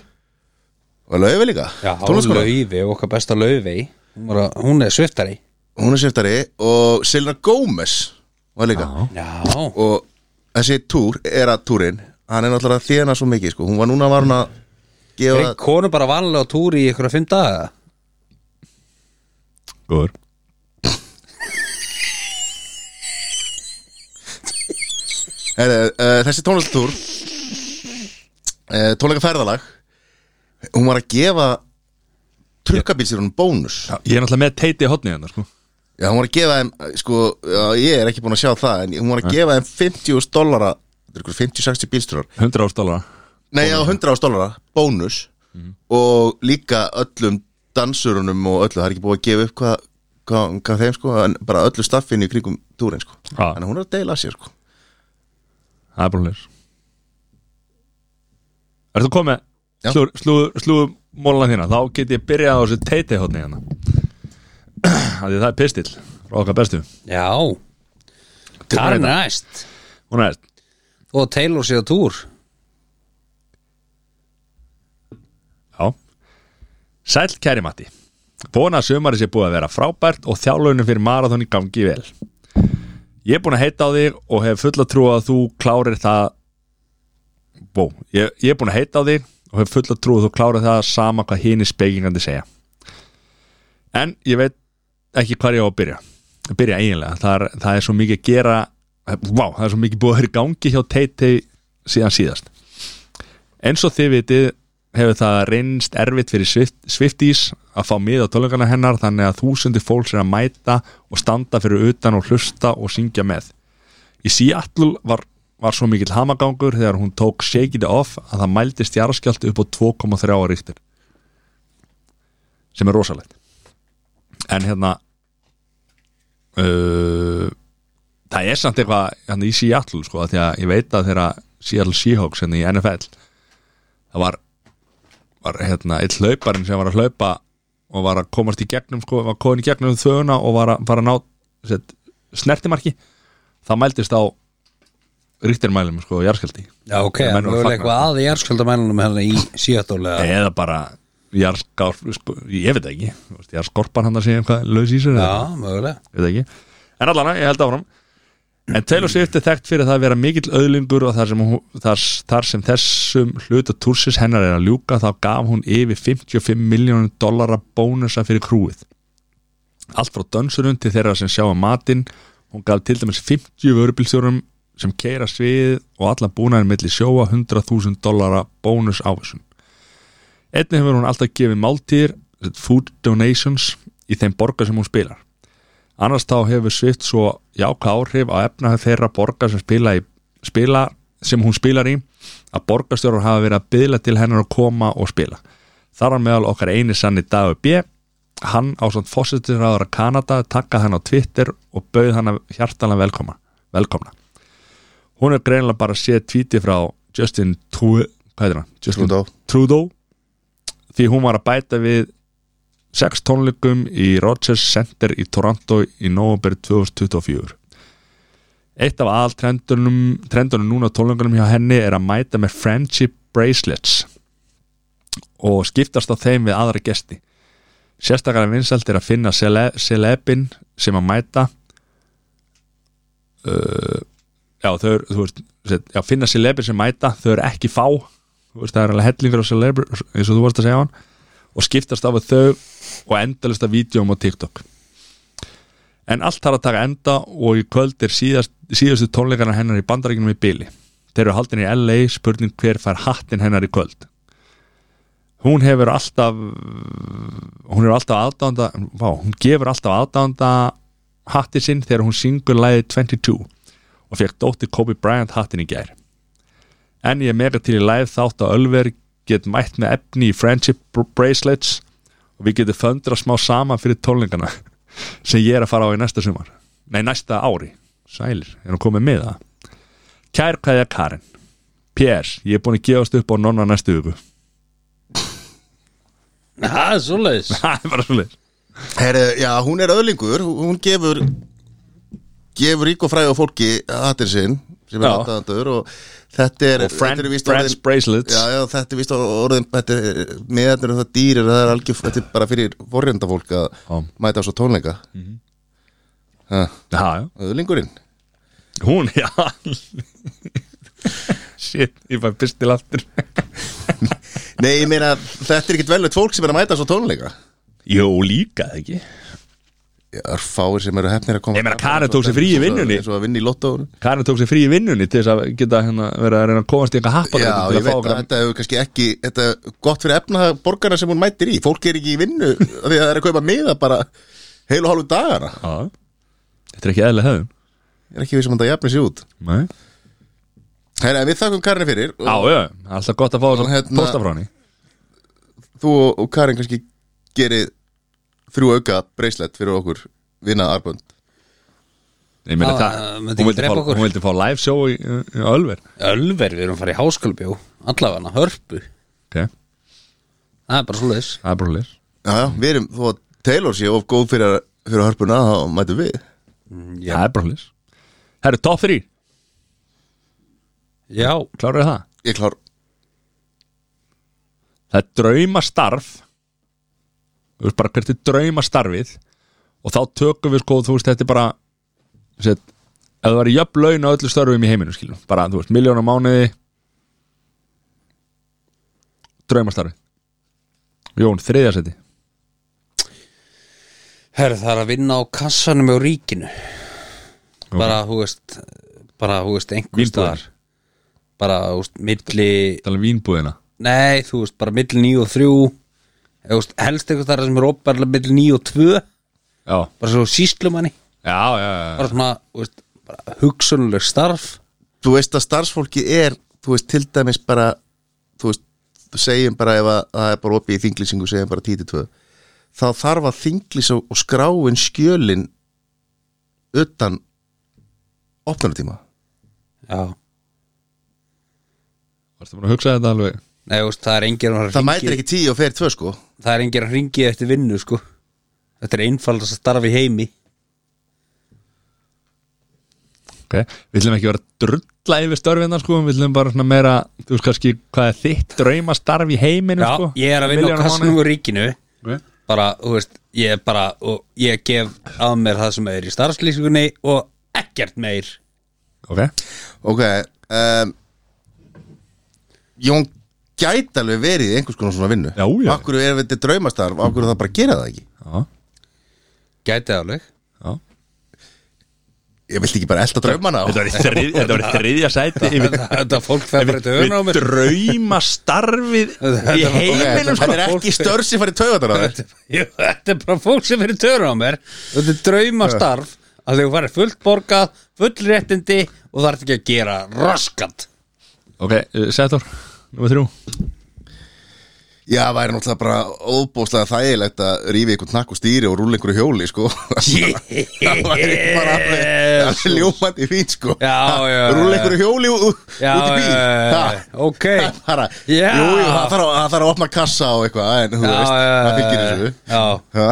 Var Laufi líka,
Já,
tónleikum
Laufey, okkar besta Laufey Hún, var að- hún er sviftari
Hún er sviftari og Selena Gomez Var líka
Já,
og þessi túr, er að túrin hann er náttúrulega að þjena svo mikið sko. hún var núna var hún að
er
gefa
ekki konu bara vanlega á túri í ykkur að fimm daga
góður
er, uh, þessi tónlistartúr uh, tónleika ferðalag hún var að gefa trukkabílsir hún bónus já.
Ég er náttúrulega með teiti í hotnið hennar sko.
hún var að gefa þeim eh, sko, já, ég er ekki búin að sjá það en hún var að gefa þeim 50 dollara 50-60 bílstjórar
100 ástálara
Nei, já, 100 ást dólara, bónus
Mhm.
og líka öllum dansurunum og öllu, það er ekki búið að gefa upp hvað hva, hva þeim sko, en bara öllu staffinu í kringum túrin sko,
Já.
þannig að hún er að deila sér sko
Það er bara hlýr Er þú komið
Já.
slúður slú, slú, mólan þína Þá get ég byrjað á þessu teiti hotnið hennar Því það er pistill Frá okkar bestu
Já Það er næst
Hún er
Og Taylor sé á túr
Já Sæll kæri Matti Vona að sömari sé búið að vera frábært og þjálunum fyrir marathon í gangi vel Ég er búin að heita á þig og hef fulla trú að þú klárir það Bó, ég, ég er búin að heita á þig og hef fulla trú að þú klárir það sama hvað hini spekingandi segja En ég veit ekki hvað ég á að byrja að byrja eiginlega, það er, það er svo mikið að gera Vá, það er svo mikið búið að vera í gangi hjá Teiti síðan síðast eins og þið vitið hefur það reynst erfitt fyrir Swift, Swifties að fá mið á tölungana hennar þannig að þúsundir fólks er að mæta og standa fyrir utan og hlusta og syngja með. Í Seattle var, var svo mikill hamagangur þegar hún tók Shake It Off að það mældi stjárskjald upp á 2,3 ríktir sem er rosalegt en hérna uh, það er samt eitthvað hérna, í Seattle sko, af því að ég veit að þegar Seattle Seahawks hérna í NFL það var, var hérna, eitt hlauparinn sem var að hlaupa og var að komast í gegnum sko, var komin í gegnum þöguna og var að, var að ná set, snertimarki það mældist á ríktirmælum sko, jarðskjaldi
Já, ok,
Þegar menn
hann Eh.
voru að
mögulega
fagna.
eitthvað að í jarðskjöldamælunum hérna í Seattle eða
eða bara jarðskár, sko, ég veit það ekki Þú veist, jarðskorpan hann að segja eitthvað laus í sér eða-
Já, mögulega
Ég veit ekki En allan, ég held áfram En Taylor Swift er þekkt fyrir það að vera mikill öðlingur og þar sem, hún, þar, þar sem þessum hluta túrsins hennar er að ljúka þá gaf hún yfir 55 miljónum dollara bónusa fyrir krúið Allt frá dönsurum til þeirra sem sjá um matinn Hún gaf til dæmis 50 vörubilstjórum sem keira sviðið og alla búnaðin milli sjóa 100.000 dollara bónus ávísun Einnig hefur hún alltaf gefið máltíðir food donations í þeim borgar sem hún spilar annars þá hefur Svift svo jákvæð áhrif á efnahag þeirra borgar sem spila, í, spila sem hún spilar í að borgarstjórar hafa verið að byðla til hennar að koma og spila þar á meðal okkar eini sanni Dagur B hann á samt fósittisraður að Kanada takka hann á Twitter og bauð hann hjartalega velkoma, velkomna hún er greinilega bara að sé tvíti frá Justin Tru, hvað heitir hann? Justin
Trudeau.
Trudeau því hún var að bæta við sex tónleikum í Rogers Center í Toronto í november 2024 Eitt af aðal trendunum, trendunum núna á tónleikunum hjá henni er að mæta með friendship bracelets og skiptast á þeim við aðra gesti Sérstaklega vinsælt er að finna sele, celebin sem að mæta uh, já, þau eru, þú veist set- já, finna celebin sem mæta, þau eru ekki fá þú veist, það er alveg hellingur á celebin eins og þú varst að segja hann og skiptast á við þau og endalista vídjóm á TikTok En allt þarf að taka enda og í kvöld er síðast, síðastu tónleikana hennar í bandaríkinum í bili Þeir eru haldin í LA, spurning hver fær hattin hennar í kvöld Hún hefur alltaf hún er alltaf aðdánda vá, hún gefur alltaf aðdánda hatti sinn þegar hún syngur læði 22 og fekk dóttir Kobe Bryant hattin í gær en ég er meira til í læð þátt að Ölver get mætt með efni í friendship br- bracelets og við getum föndra smá saman fyrir tólningana sem ég er að fara á í næsta sumar nei, næsta ári, sælir, er hún komið með það Kær kæðja Karin P.S. Ég er búin að gefast upp á nonna næstu viku
Það er svoleiðis
Það er bara svolítið
Heru, já, hún er öðlingur, hún gefur gefur rík og fræði á fólki hattir sinn sem er
Já.
aðdæðandur og þetta er,
Og friend,
þetta er víst
friends
orðin-
bracelets
Já, já, þetta er víst orðin þetta er, miðarnir og það dýrir það er algjör, þetta er bara fyrir vorjönda fólk að
Já. Mhm.
mæta á svo tónleika ha,
Já, já
öðlingurinn
Hún, já Shit, ég fæ pistil aftur
Nei, ég meina, þetta er ekkit velveit fólk sem er að mæta á svo tónleika
Jó, líka það ekki
Já, það eru fáir sem eru hefnir að koma
Ég meina, Karen tók sér frí í vinnunni.
Eins og að vinna í lottóinu
Karin tók sér frí í vinnunni til þess að geta hérna, vera að reyna að komast í eitthvað happa
Já, ég veit að þetta hefur kannski ekki þetta er gott fyrir efna borgarna sem hún mætir í fólk er ekki í vinnu af því að það er að kaupa miða bara heil og hálfu dagana
Já, þetta er ekki eðlega höfum
ég er ekki um við sem hann það jafnir sér út
Nei
Herra, en við þakkum Karinni fyrir
Já,
og
já, alltaf gott að fá þess að
Hérna-
posta frá henni
þú og- og Karin kannski gerir þrjú auka breyslett fyrir okkur vinna arbund
Ég meina
Já,
það,
það myndi
hún
ekki
vildi,
drepa
fá,
okkur.
hún vildi fá live show í, í Ölver
Ölver, við erum að fara í háskólbjó Allafana, hörpu
Ok,
Það er bara svoleiðis
það er brúlis
Já, já, við erum, þó að Taylor sé of góð fyrir, fyrir hörpuna þá mætum við
Mm, Já.
Það er brúlis Herru, top 3,
Já,
kláruðu það?
Ég klár
það er draumastarf þú veist bara hvert er draumastarfið og þá tökum við sko þú veist þetta er bara set, ef það var jöfn laun á öllu störfum í heiminum skilum, bara þú veist miljón á mánuði draumastarfið Jón, þriðasetti
herr, það er að vinna á kassanum á ríkinu Bara, þú veist Bara, þú veist, einhver
Vínbúðin.
staðar Bara, þú veist, milli
tala um vínbúðina
Nei, þú veist, bara milli 9 og 3 Eða, þú veist, helst einhver staðar sem er opbarlega milli 9 og 2
já,
Bara svo síslumanni
já, já, já.
Bara svona, þú veist, bara hugsunuleg starf
þú veist að starfsfólki er þú veist til dæmis bara þú veist, þú segjum bara ef að að það er bara opið í þinglýsingu, segjum bara 10-2 þá þarf að þinglýsa og skráin skjölin utan opnunatíma
Já
varstu búin að hugsa þetta alveg
Nei, þú veist, það er engir að
það
hringi
mætir ekki 10 og fer 2 sko
Það er engir að hringi eftir vinnu, sko Þetta er einfaldast að starfi heimi
okay. við ætlum ekki vera að drulla yfir störfinna sko, við ætlum bara svona meira þú veist kannski hvað er þitt draumastarf í heiminum
Já,
sko,
ég er að vinna
Milljón
á kassanum og ríkinu
mánuði.
Bara, þú veist, ég er bara og ég gef að mér það sem er í starfslýsingunni og ekkert meir
ok
ok um, Jón gæti alveg verið í einhvers konar svona vinnu
Já, já.
akkur er þetta draumastarf, akkur er það bara að gera það ekki
Já,
Gæti alveg
já
ég vilti ekki bara elda draumana á
Þetta var í þrið- þetta var í þriðja sæti yfir,
Þetta fólk fer bara þetta
yfir,
auðvitað
yfir
á mér
drauma starfið í
Þetta var-
heiminum
þetta
sko.
er ekki störf sem farið taugatana þér
Jú, Þetta er bara fólk sem fyrir törun á mér Þetta er draumastarf að þau farið fullt borgað, full réttindi og það er ekki að gera raskat
Ok, Sætor, nummer þrjú
Já, það væri náttúrulega bara óbóðslega þægilegt að rífi einhvern nakk og stýri og rúla einhverju hjóli, sko Það væri bara alveg, alveg ljómandi fín, sko
Já, já, já.
Rúla einhverju hjóli ú- ú- út
Já,
í bíl
já, já, já.
Ha,
Ok.
það bara,
Já.
Jú, jú, það þarf, að- það þarf að opna kassa og eitthvað En þú
Já,
veist,
já, já,
það fylgir
já,
þessu
já.
Ha?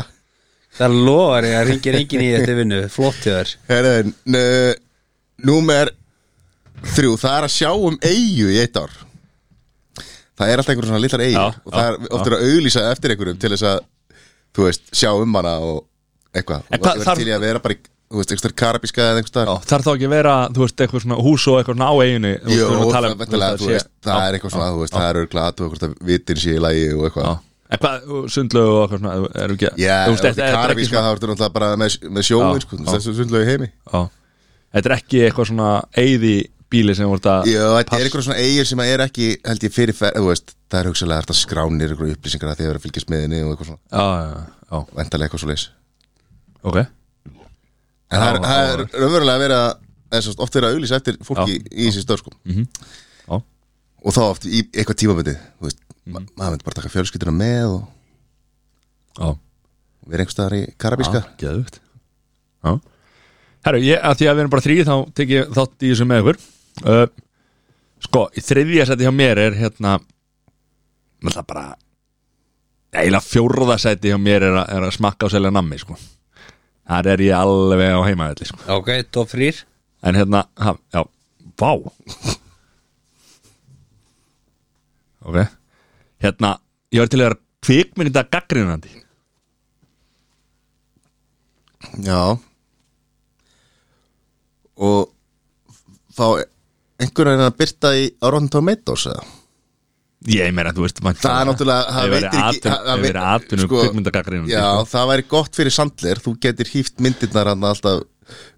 Það lofar ég að ringir enginn í þetta vinnu Flott hjá þér
Herðin, númer þrjú, það er að sjá um eigu í eitt ár Það er alltaf einhverjum svona litlar eigu
Já,
og það er
já,
oft verið að auglýsa eftir einhverjum til þess að, þú veist, sjá um hana og eitthvað
En
og það
það-
er
þarf-
til í að vera bara, í, þú veist, einhverjum karabíska eða einhverjum
Já, Þarf þá ekki að vera, þú veist, eitthvað svona hús og eitthvað svona á eiginu Þú veist,
Jú,
við erum að tala
það,
um-
væntanlega, þú
sé-
veist, það
Já,
er eitthvað svona, þú veist, það er örgulega að þú veist, að vitin sé í lagi og
já.
eitthvað
En hvað, sundlögu og eitthvað svona er ekki,
Já,
þú
ef
veist,
þetta
þetta þetta
er
er ekki
karabíska
svona-
þá ertu náttúrulega bara með, með
Já,
sjóin, sko,
já.
þessu sundlegu heimi
Já. Þetta er ekki eitthvað svona eigði bíli sem voru að
Já, þetta er einhverjum svona eigir sem er ekki held ég fyrir fer, þú veist, það er hugsalega hægt að skránir einhverjum upplýsingar að þið eru að fylgjast með henni og eitthvað svona,
Já, já, já,
endalega eitthvað svo leys
ok
En það er-
Já,
það er
já.
raunverulega að vera eða svo oft verið að auðlýsa eftir fólki í þessi stöð sko.
Mm. Já.
og þá oft í eitthvað tímaböndi þú veist,
Mm.
ma maður myndi bara taka fjölskyldina með og
Já,
vera einhvers staðar í karabíska
Já, geðvögt Já Herru, ég, að því að við erum bara þrý þá tek ég þátt í þessu með ykkur uh, Sko, í þriðja seti hjá mér er hérna Náttúrulega bara eiginlega fjórða seti hjá mér er, a, er að smakka og selja nammi, sko Þar er ég alveg á heimavelli, sko
Ok, top 3
En hérna, ha, já, vá Ok Hérna, ég var til að vera kvikmynda gaggrinandi
Já og þá einhverjum er að byrta í á Rotten Tomatoes eða?
Ég meira, þú veist
það er náttúrulega það veitir ekki- það-
Það
það
er verið
veit-
atvinnu sko, kvikmyndagagrinn
Já, það væri gott fyrir sandlir þú getur hýft myndirnar hann alltaf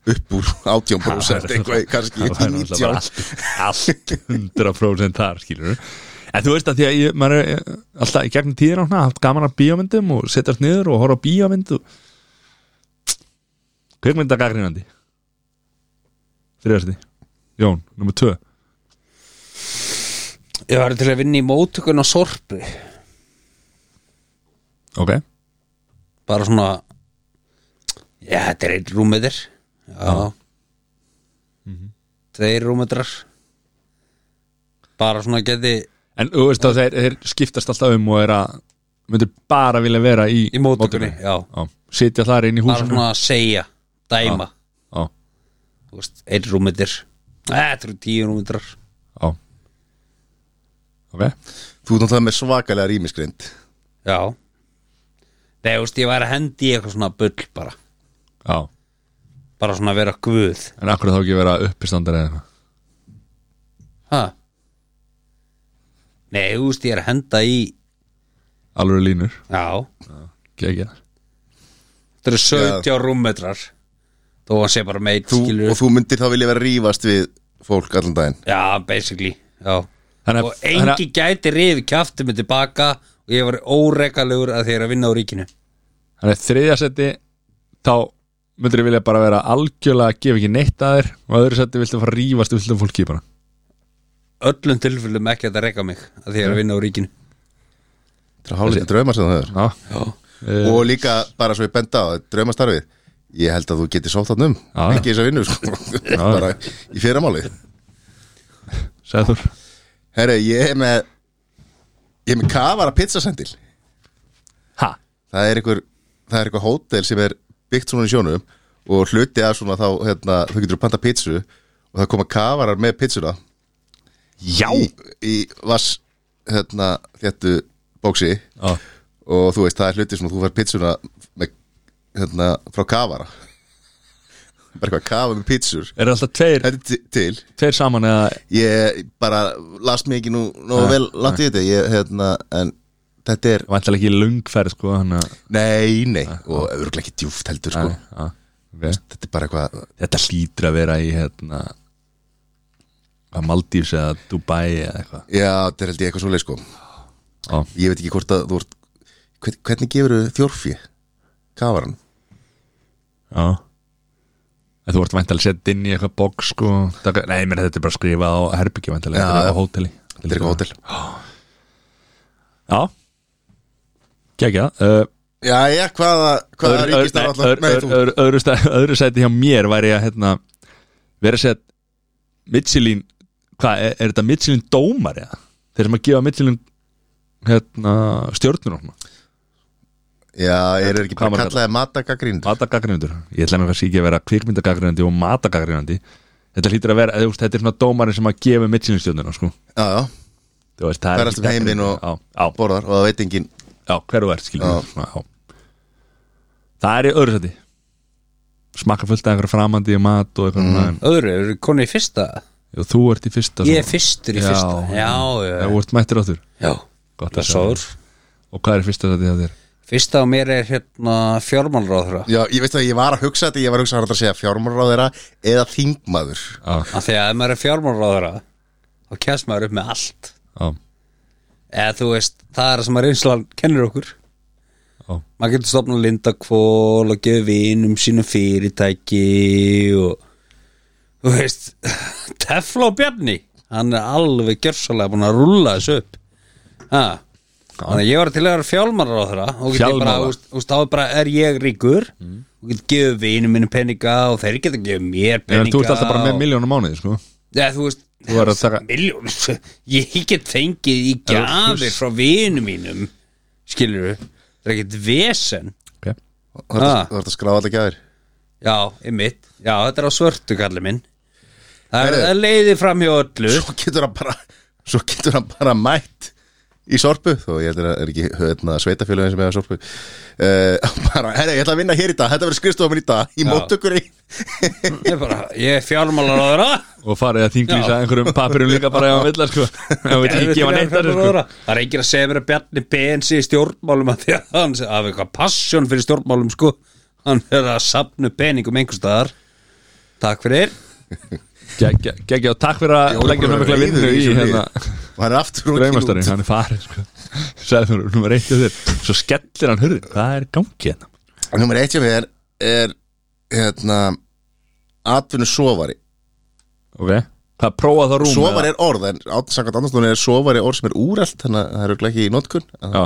upp úr 18% eitthvað, kannski upp í 19
allt, allt 100% þar skilur En þú veist að því að ég, maður er eh, alltaf í gegnum tíðina og svona, haft gaman af bíómyndum og setjast niður og horfa á bíómynd og... Kvikmyndagagrinandi Þriðasti Jón, nummer 2
Ég var til að vinna í móttökun á sorpu
Ok,
Bara svona Já, þetta er einn rúmetir Já
Mhm.
Tveir rúmetrar Bara svona geti
en þú veist að þeir, þeir skiptast alltaf um og er að myndir bara vilja vera í,
Í móttökunni, já.
Sitja þar inn í
Bara
húsinu
svona að segja Dæma
Já,
Þú veist, Einn rúmetir Þetta eru tíu rúmetrar
já Ok
Þú ert náttúrulega með svakalega rýmisgrind
Já Nei, þú veist, ég væri að hendi í eitthvað svona bull bara
Já,
Bara svona að vera guð
en akkur þá ekki vera uppistandar eða eitthvað
Ha? Nei, þú veist, ég er að henda í
Alveg línur,
Já,
ekki ekki
þetta eru 70 rúmmetrar Þó að sé bara meitt
þú,
skilur
og þú myndir þá vilja vera að rífast við fólk allan daginn
Já, basically Já
Þannig
Og engi gæti rifi kjafti mig tilbaka og ég var óreikalugur að þeir að vinna á ríkinu
Þannig að þriðja seti þá myndir ég vilja bara vera algjörlega að gefa ekki neitt að þér og að öðru seti viltu fara að rífast viltu fólki bara
Öllum tilfellum ekki að þetta reika mig að þeir að vinna á ríkinu
Það er hálítið draumar sem þú hefur
Já,
Já
uh,
Og líka bara svo ég benda á draumastarfið Ég held að þú getur sótt hann um
Já.
Ekki þess að vinnu sko. bara í fyrramáli
sagði þú
Herra, ég er með Ég er með kafara pizzasendil
Ha,
það er einhver það er einhver hótel sem er byggt svona í sjónum og hluti að svona þá hérna, þú getur að panta pizzu og það koma kafarar með pizzuna
já
í, í vass hérna, þéttu bóksi
Já,
og þú veist það er hluti sem þú fær pizzuna með, hérna, frá kafara bara eitthvað kafa með pizzur
Er alltaf tveir,
þetta er ti- til
tveir saman eða
ég bara las mig ekki nú, nú
Nei,
vel langt í þetta ég, hérna, en þetta er
vantilega ekki lungferð sko hann að
nei, nei, og örgulega ekki djúft heldur sko.
Já, ok.
þetta er bara eitthvað
Þetta hlýtur að vera í hérna að Maldífs eða Dubai eða eitthvað
Já, þetta er held ég eitthvað svoleið sko
Já.
Ég veit ekki hvort að þú ert hvern- Hvernig gefur þau þjórfi? Kafaran?
Já En þú ert væntalega sett inn í eitthvað box sko taka, Nei, mér þetta er bara skrifað á herbyggja væntalega
Já,
Þetta er
já.
á hóteli
Þetta er eitthvað hótel
Já Kækja uh,
Já, já, hvaða, hvaða
öðru,
ríkist er
öðru,
allar með
öðru,
þú?
öðru, öðru, stæ- öðru sæti hjá mér væri að hérna, vera sett Michelin Hvað, er, er þetta Michelin dómar eða? Þeir sem að gefa Michelin hérna, stjórnur og svona
Já, ég er ekki
Hvað
bara
maður
kallaði matagagrind
Matagagrinundur Ég ætla mér að síkja að vera kvikmyndagagrinandi og matagagrinandi Þetta hlýtur að vera, þú veist, þetta er svona dómarinn sem að gefa Michelin stjórnur sko
Já, já,
Þú veist, það
Ferðast
ekki
um heiminn
gagnrýni.
og-
já, já,
borðar og það veit engin
já, hver þú ert skiljum
Já.
við, svona, já. það er í öðru sæti smakka fullt af einhverja framandi og mat og eitthvað mm.
Öðru, eru konu í fyrsta?
og þú ert í fyrsta svona.
Ég er fyrstur í
Já,
fyrsta Já, já,
þú ert mættir áttur
já
Gott að
Blessaður.
og hvað er í fyrsta sæti hjá þér?
Fyrsta á mér er hérna fjármálráðra
Já, ég veist að ég var að hugsa þetta, ég var að hugsa að þetta að segja fjármálaráðera eða þingmaður
já,
af því að ef maður er fjármálráðra þá kemst maður upp með allt
já,
eða þú veist, það er það sem að reynslan kennir okkur
já,
maður getur stofnað lindakvól og gefið vinum sínum fyrirtæki og þú veist Tefla og Bjarni hann er alveg gjörsalega búin að rúlla þessu upp ha. þannig að ég var til að vera fjálmarar á þeirra og get ég bara,
Fjálmála.
úst, úst, þá er bara er ég ríkur og getur gefið vinum minni peninga og þeir getur gefið mér
Mm. já
peninga
Þú ert alltaf bara með
og-
miljónum mánuði sko.
Já, þú veist,
Þú verður að taka-
miljón Ég get fengið í gjafir frá vinum mínum Skilur Það er ekkert vesen
okay.
og þú
Ah.
ert að skráða alltaf gæður
Já, einmitt Já, þetta er á svörtu kalli minn Það er,
Heyrðu.
það leiði fram hjá öllu
Svo getur hann bara, svo getur hann bara mætt í sorpu, þó ég heldur að er ekki höfna sveitafélagin sem hefur sorpu uh, bara, herri, ég ætla að vinna hér í dag þetta verður skrifstofum í dag, í
Já.
móttökuri
Ég er bara, ég er fjármálar á þeirra
Og farið að
Já.
þinglýsa einhverjum papirum líka bara ef hann vill sko. Ef við ekki gefa neitt þar sko.
Það er enginn að segja mér að Bjarni BNC í stjórnmálum að því að hann sé- hafi eitthvað passjón fyrir stjórnmálum sko Hann er að sapna peningum einhvers staðar Takk fyrir
Gekkja, gekkja, og takk fyrir að leggja með mikla vinnu í hérna
og hann er aftur og
draumastarinn, hann er farin sko. Sæður þú, nummer eitt hjá þér Svo skellir hann hurðin, hvað er í gangi hérna?
Númer eitt hjá mér er hérna atvinnu sovari
Ok, það prófa það rúm
sovari er orð, en át- samkvæmt annarslunni er sovari orð sem er úrælt, þannig að það eru ekki í notkun en
Já,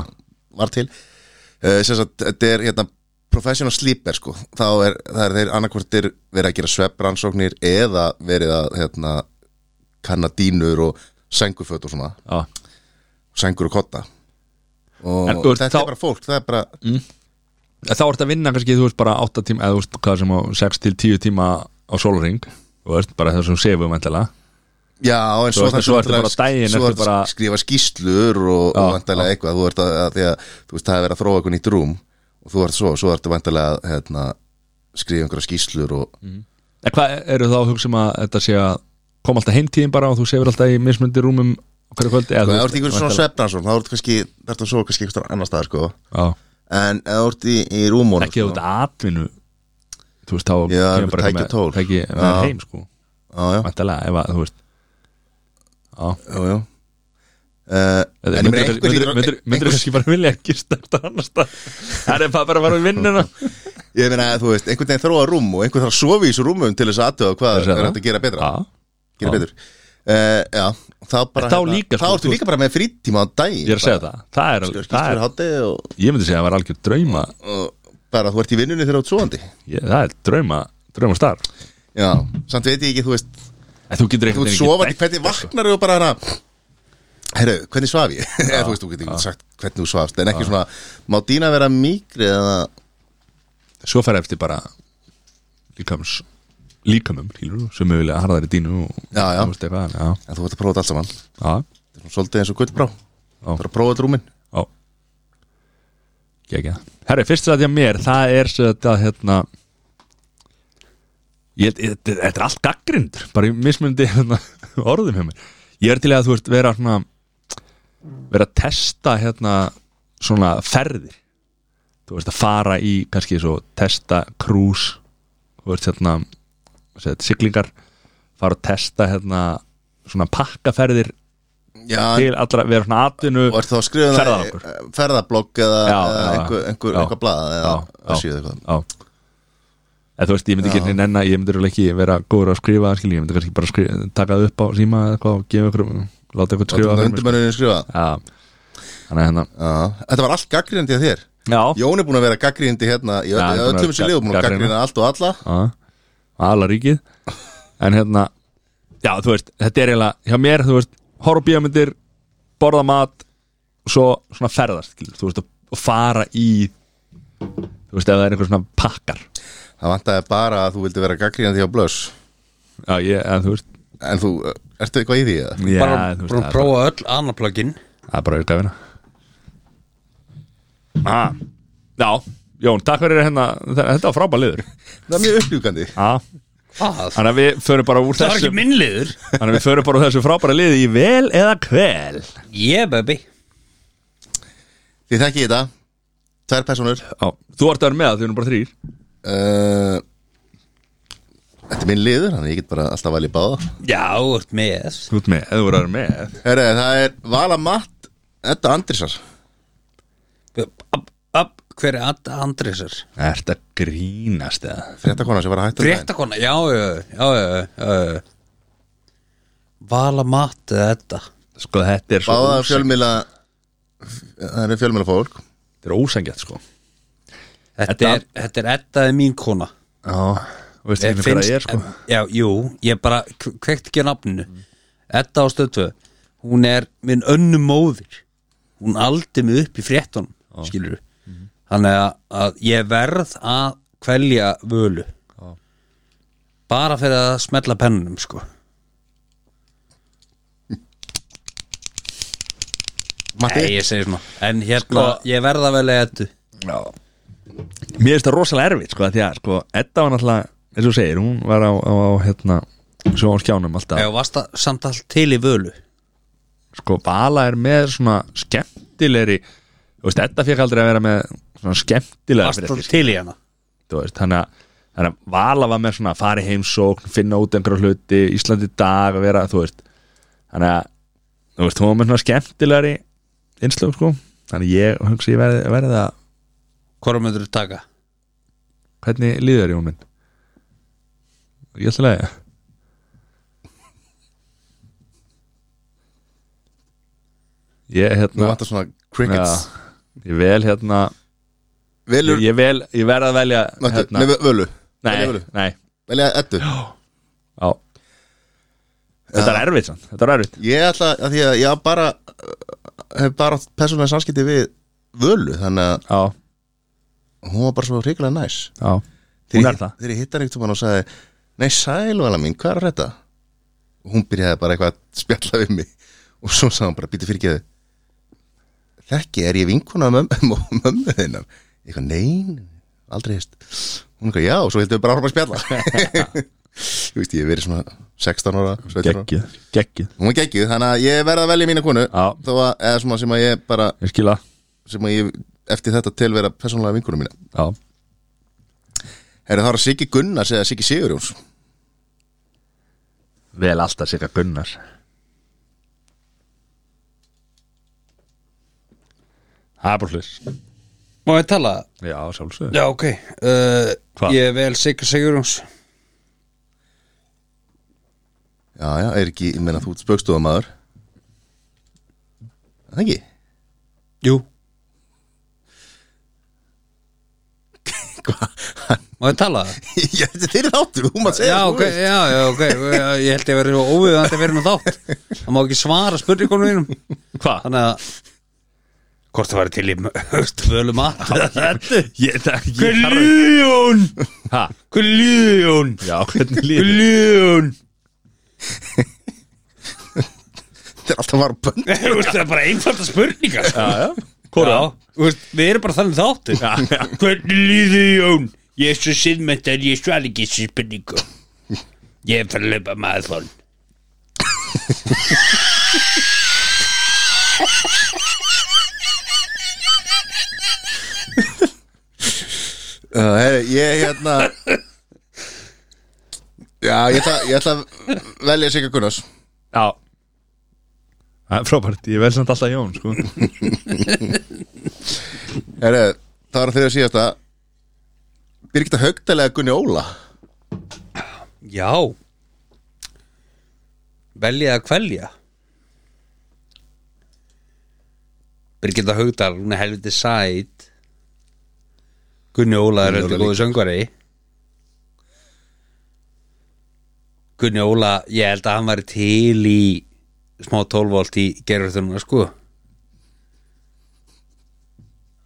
var til uh, sem sagt, þetta er hérna professional sleeper sko, þá er, það er þeir annarkvortir verið að gera svepprannsóknir eða verið að hérna kanna dínur og sængurföt og svona,
já,
sængur og kotta og
En þú ert
þetta
þá- Mm.
er bara fólk, það er bara
En þá ertu að vinna kannski, þú veist, bara 8 tíma eða þú veist, hvað sem á 6 til 10 tíma á sólring, þú veist, bara þessum sefum endala,
Já, en
Svo
svo,
ertu-
það-
svo ertu
náttúrulega-
bara daginn,
svo
ertu
ertu
bara-
að skrifa skýslur og,
Já,
og vantarlega eitthvað, þú ert að, að, því að þú veist, það er verið að þróa eitthvað nýtt rúm og þú ert svo, svo ertu vantarlega að hérna, skrifa einhverja skýslur og
Mm. En hvað eru þá að hugsa um að þetta sé að koma alltaf heimtíðin bara og þú sefur alltaf í mismunandi rúmum á hverju kvöldi
Sko,
eða,
ef þú
þú
ert í einhverjum svona svefnansón, þá ert kannski, þetta er svo kannski einhverjum annar staðar, sko
Já,
En ef þú ert í, í sko. rúmónum
ekki ef þú ert atvinnu þú veist, þá
Já,
kemur bara
tæki
með-
tól.
tæki með
Já.
heim, sko,
Já, já,
vantalega ef að, þú veist Já,
já, já Uh,
myndir,
en ég meina einhver
myndir, myndir,
hlýtur-
myndir
einhver-
kannski bara vilja ekki starta annars það er bara bara að fara í vinnuna
ég meina þú veist, einhvern veginn þróa rúm og einhvern þarf að sofa í þessu rúmum til þess að aðtöða hvað
Þess að
er
það.
hægt að gera betra,
Já,
gera betur. Uh, já, þá bara hérna-
En þá líka,
þá
sko,
ertu
þú-
líka bara með frítíma á daginn
ég er að segja það Það er,
skýst
það
fyrir
er
hátti og,
ég myndi segja að það var algjör drauma
og bara þú ert í vinnunni þegar þú ert svoandi
ég, það er drauma, drauma starf
já, samt veit ég ekki, þú veist
En þú getur
þú
einhvern
ert
veginn
sofandi,
ekki dæmt
hvernig vaknar þú bara hana herru, hvernig svaf ég eða þú veist, þú getur ekki sagt hvernig þú svafst en ekki svona, má dýna vera mýkri eða,
svo fær eftir bara líkams líkamum, hýlur, sem er vilja harðari dínu og,
Já, já.
þú veist eitthvað, já,
en þú ert að prófa þetta allt saman þetta
já,
er svona svolítið eins og gullbrá þú ert að prófa þetta rúmin
já gegja herri, fyrst það því að mér, það er sem þetta, hérna ég, held- ég, þetta þetta er allt gaggrindur bara í mismundi hérna, orðum hjá mér ég er til í að þú veist vera svona vera að testa hérna svona ferðir þú veist að fara í kannski svo testa krús þú veist hérna set, siglingar fara að testa hérna svona pakkaferðir
já, en-
til allra, vera svona atvinnu
og ert þá að skrifa
Ferðalangur.
það eh, ferðablogg eða,
Já,
eða
já, já.
einhver, einhver,
Já.
einhver blað eða
Já, já.
síðu eitthvað
Já En þú veist, ég myndi ekki henni nennan, ég myndi örugglega ekki vera góður að skrifa, skil, ég myndi kannski bara skrifa, taka það upp á síma eða eitthvað og gefa ykkur, láta ykkur skrifa
Látum
fyrir mig. sko.
undirmenninu skrifa
Já, þannig að hérna
Já. þetta var allt gaggrindi að þér
Já,
Jón er búin að vera gaggrindi hérna í
Já, hann er
öll-
búinn að
öllum sér liðum, búin að
gagnrýna.
gaggrina allt og alla
aðla ríkið En hérna, já, þú veist, þetta er eiginlega, hjá mér, þú veist, horf á bíómyndir, borða mat og svo svona ferðast, skil, þú veist, og- og fara í, þú veist, ef það er einhver svona pakkar
Það vantaði bara að þú vildi vera gaggrínandi hjá Blöss
Já, ég, en þú veist,
En þú, uh, ertu eitthvað í því eða?
já,
bara,
þú veist,
bara
það er
prófa öll annar plugin
Það er bara auka vinna ah, Já, Jón, takk fyrir hérna Þetta var frábæð liður
Það er mjög uppljúkandi
ah,
Hvað?
Þannig að við förum bara úr
Það var
þessu
ekki minnliður
Þannig að við förum bara úr þessu frábæra liði í vel eða kvel
Yeah baby
Þið þekki þetta Tvær personur
Já, þú ert að vera með það, þau eru bara þrýr
uh, Þetta er minn liður Þannig ég get bara alltaf valið báða
Já, þú ert með
Þú ert með, þú verður að vera með
Herre, Það er Vala Matt Edda Andrisar
upp, upp, Hver er Adda Andrésar?
Ert að grínast eða
Fréttakona sem var að hætta um daginn.
Fréttakona, já, já, já, já, já, já. Vala mat eða þetta
Sko þetta er svo
Báða
ósann-
fjölmila Það eru fjölmila fólk
Þetta er ósangjætt sko
Þetta
Edda.
er, þetta er Edda er mín kona
Já, og veistu ekki hvað það er sko
Já, jú, ég bara kveikt ekki á nafninu Edda á stöðtöð Hún er minn önnu móðir Hún aldi mig upp í fréttunum skilur Þannig að, að ég verð að kvelja völu
Já.
Bara fyrir að smella pennunum sko
Matti
Nei, ég segi svona En hérna, ég verð að velja Eddu
Já Mér finnst það rosalega erfitt sko af Því að sko, Edda var náttúrulega eins og þú segir, hún var á, á, á hérna Svo á skjánum alltaf
Já, varst það samt allt til í völu
sko Vala er með svona skemmtilegri þú veist, Edda fekk aldrei að vera með svona skemmtilega
Varst það til í hana
þú veist, þannig að, þannig að Vala var með svona fari heimsókn, finna út einhverja hluti Íslandi í dag að vera, þú veist þannig að, þú veist, hún var með svona skemmtilegri innslög, sko þannig að ég hugsi ég verði, verði að
Hvora myndur þú taka?
hvernig líður Jón minn ég ætla að leiða ég
Nú
hérna
vantar svona crickets
Já, ég vel hérna
Velur
ég, ég, vel, ég verð að velja
Matti,
hérna,
Nei, völu velja
Nei,
völu.
nei
Velja Eddu
á. Þetta er erfitt sann, þetta er erfitt
Ég ætla að því að ég bara uh, hef bara átt persónlega samskipti við völu þannig að
á,
hún var bara svo hrikalega næs
á. Hún er
ég-
það
Þegar ég hitt hann einhvern tímann og sagði Nei, sælvala mín, hvað er þetta? Og Hún byrjaði bara eitthvað að spjalla við mig og svo sagði hún bara, býtu fyrir geðu Þekki, er ég vinkona af mömmu, mömmu þinnar? Eitthvað, nein, aldrei heist Hún eitthvað, já, og svo heldur við bara áfram að spjalla Þú veist, ég hef verið svona 16 ára, 17 ára
Gekkið, gekkið
Hún er geggjuð, þannig að ég verða að velja mína konu
Já.
þó að, eða svona sem að ég bara
Ég skila
sem að ég eftir þetta til vera persónlega vinkonu mína
á.
Herri, þá er það Siggi Gunnars eða Siggi Sigurjóns
Vel alltaf sikka Gunnars Það er bara hluss
Má ég tala?
Já, sjálfsög
Já, ok uh,
Hva?
Ég vel Sigur Sigurjóns
Já, já, er ekki, ég meina þú ert spökstofamaður Það ekki?
Jú
Hvað?
Má ég tala?
Já, þetta er þeirri þáttur, þú maður segja
Já,
þú
ok,
veist.
já, já, ok Ég held ég verið svo óviðandi að vera nú þátt Það má ekki svara spurningunum mínum
Hvað?
Þannig að Hvort það væri til í höst völu mat
Ég, það, ég þarf
Gljón
Hæ?
Gljón
Já, hvernig líður
Gljón
Þetta er alltaf var bönn
Það er bara einfalda spurningar sko.
Já, já
Já,
Hvora?
þú veist, við erum bara þannig þáttu
Já, já.
Hvernig líður Jón? Ég er svo siðmætt en ég svar ekki þessi spurningu Ég er fyrir að löpa maður
uh, Herri, ég hérna Já, ég ætla, ég ætla að velja Sigga Gunnars
Já Það er frábært, ég verð samt alltaf Jón sko.
Herri, það var þeirra síðasta Birgitta Haugdal eða Gunni Óla
Já Velja að kvelja Birgitta Haugdal, hún er helviti sæt Gunni Óla er
Gunni
heldur
Óla
góðu söngvari Gunni Óla, ég held að hann var til í smá tólvolt í gerurþunum sko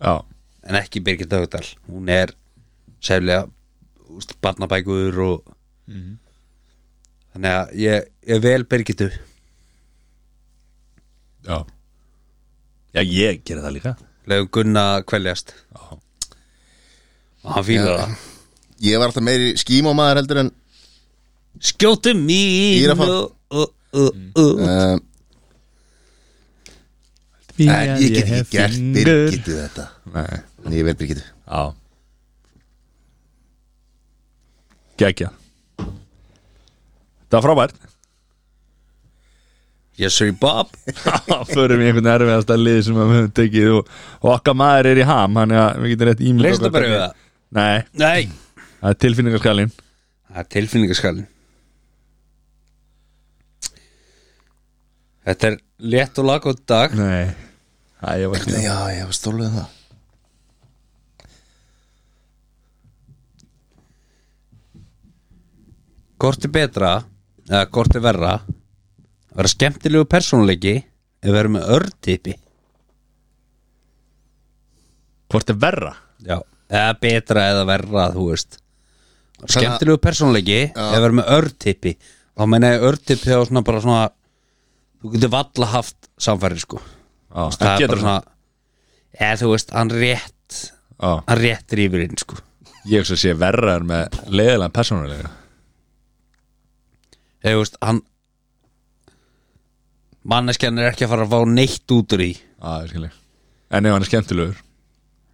Já,
en ekki Birgitta Haugdal hún er sérlega úst, barnabækur og
Mhm.
þannig að ég, ég vel Birgittu
já Já, ég gera það líka
legum Gunna að kveljast
Já.
og hann fýlar
Já.
það
Ég var alltaf meiri skímámaður heldur en
skjótu mín
Gíraffa.
og- og- og- og-
uh, Nei, ég get ekki gert Birgittu þetta
Nei,
en ég verð Birgitu
Já Gækja Það er frábært
Yes sir Bob
Það förum í einhvern erfiðasta lið sem að við höfum tekið og, og okkar maður er í ham Þannig að við getum rétt ímynd
Leist það bara við það
Nei,
Nei
það er tilfinningaskalinn
Það er tilfinningaskalin Þetta er létt og laggótt dag
Nei, það ég var ekki
já, ég var stólið um það
Hvort er betra eða hvort er verra að vera skemmtilegu persónuleiki eða vera með örtipi
Hvort er verra?
Já eða betra eða verra þú veist skemmtilegu persónuleiki eða vera með örtipi þá meina ég örtipi þá svona bara svona þú getur valla haft samfæri sko
Já,
Þú veist, það er
getur
bara svona eða þú veist hann rétt
Já,
hann rétt rýfur inn sko
ég hugsa að sé verra er með leiðilega persónulega
eða þú veist hann manneskjan er ekki að fara að fá neitt út úr í
Já, ég skilji En ef hann er skemmtilegur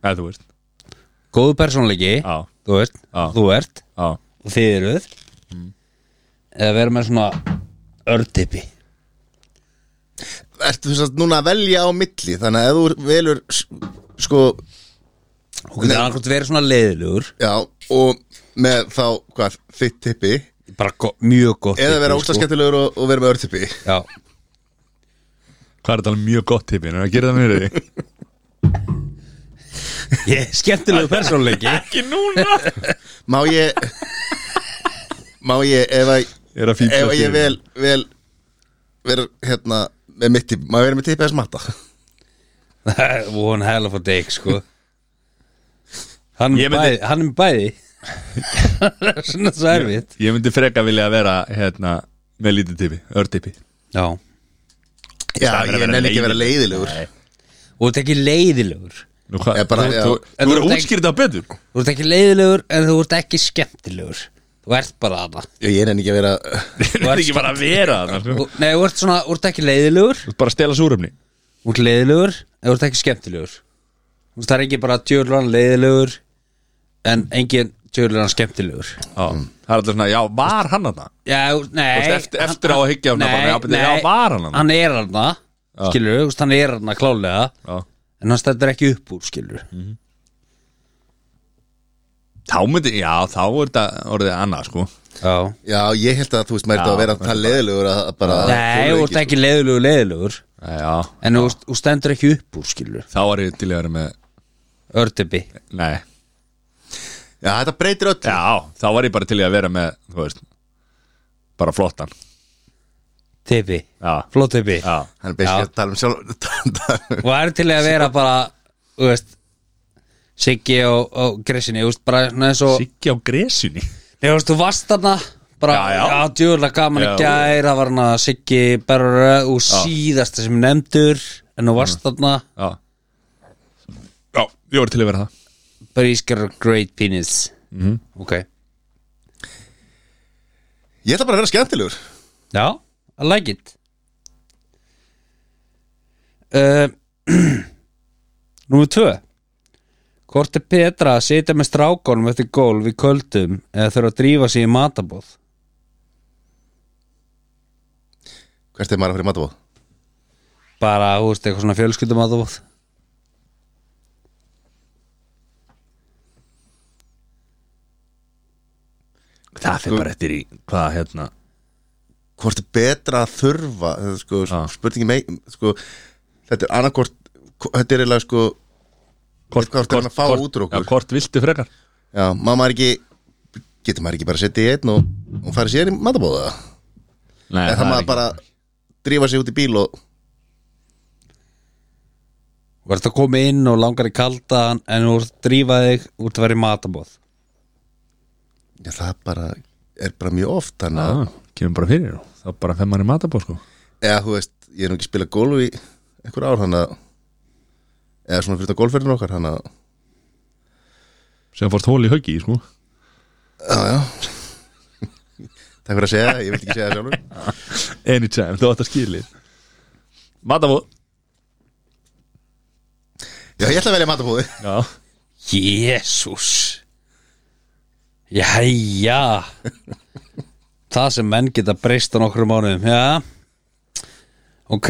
Eða þú veist
góðu persónuleiki
Já,
þú veist,
Já. Mm.
þú ert
já
og þið eruð eða vera með svona örtipi
Ertu þú satt núna að velja á milli þannig að ef þú velur s- sko,
og getur annarkot verið svona leiðilegur
já, og með þá, hvað, þitt tippi
bara go mjög gott
eða
tippi,
sko.
vera óslaskettilegur og, og vera með örtippi
sko. já,
Hvað er þetta alveg mjög gott tipin? Er það að gera það mér því?
ég skemmtilegu persónuleiki
Ekki núna
Má ég Má ég, ef að
Ég er að fífla
Ef að
fyrir.
ég vel, vel Verður hérna með mitt tipp Má ég vera með tipp eða smatta
von hella for dig sko hann
Ég
er
myndi-
bæði, hann er með bæði Það er svona svo erfitt
Ég myndi freka vilja að vera hérna, með lítið tipi, örtipi
já,
Já,
staðinn fyrir að
ég
vera
nenni ekki að vera leiðilegur
og þetta ekki leiðilegur
Nú hvað,
Ég bara-
þú,
já.
þú,
En
þú
þú
verður
ert
útskýrða betur
þú ert ekki leiðilegur en þú ert ekki skemmtilegur þú ert bara hana
Já, Ég nenni ekki að vera
Þú ert ekki bara að vera þarna, sko.
Þú- nei, þú ert svona, þú ert ekki leiðilegur
Þú ert bara að stela súrumni
Þú ert leiðilegur en þú ert ekki skemmtilegur Þú veist það er ekki bara tjörlan leiðilegur en engin tjörlan skemmtilegur
Já, það er alltaf svona, já, var hann þarna?
Já, þú- nei
Þú veist, eftir- eftir á að hyggja á hana bara, já, beti, já, var hann þarna?
Hann er hann skilur, þú veist, hann er hann klálega
Já.
en hann stendur ekki upp úr, skilur
Mm. Þá myndi, já, þá er þetta orðið annað, sko
Já
Já, ég held að þú veist maður þetta að vera það leiðilegur að að bara
Nei, þú ert ekki leiðilegur, leiðilegur
Já,
en þú veist, þú stendur ekki upp úr, skilur
þá er ég til að vera með
Ördebi
Nei,
Já, þetta breytir öll
já, þá var ég bara til í að vera með, þú veist Bara flottan
Tepi,
Já,
flott tepi
já,
Hann er beskja að tala um sjálf tala um-
og er til að vera bara þú veist Siggi og, og Gressinni, þú veist, bara svona eins og
Siggi á gresunni
Nei, þú veist, þú varst þarna bara,
Já,
já,
já.
djúrlega gaman í
Já.
gær það var hana Siggi Berra og síðasta sem nefndur en þú
Mm.
varst þarna
Já Já, ég var til að vera það
bara ískar great penis mm. ok,
Ég ætla bara að vera skemmtilegur
já, I like it uh, Númer tvö Hvort er betra að sitja með strákonum eftir gólf í köldum eða þurfa að drífa sig í matabóð
Hvert er maður að fyrir matabóð?
bara, þú veist, eitthvað svona fjölskyldum matabóð
Það fyrir bara eftir í hvað hérna
hvort er betra að þurfa þetta er sko,
Já.
spurningi mei sko, þetta er annarkvort þetta er eiginlega sko hvort, hvort er hann að fá út úr okkur
Já, hvort viltu frekar
já, mamma er ekki getur maður ekki bara að setja í einn og, og fara sér í matabóða
Nei,
eða það maður bara drífa sig út í bíl og
Þú ert að koma inn og langar í kaldan en þú ert að drífa þig út að vera í matabóð
já, það bara er bara mjög oft þannig að
Já, Ah, kemur bara fyrir og þá bara fer maður í matabóð sko
eða þú veist, ég er nú ekki að spila golf í einhver ár þannig að eða svona fyrir þetta golfverðin okkar þannig að
sem fórst hól í haugi sko
já, já takk fyrir að segja, það, ég vil ekki segja það sjálfur
Anytime, þú átt að skýrlið Matabóð
já, ég ætla að velja matabóði
Já
Jésús Jæja Það sem menn geta breyst á nokkrum mánuðum Já Ok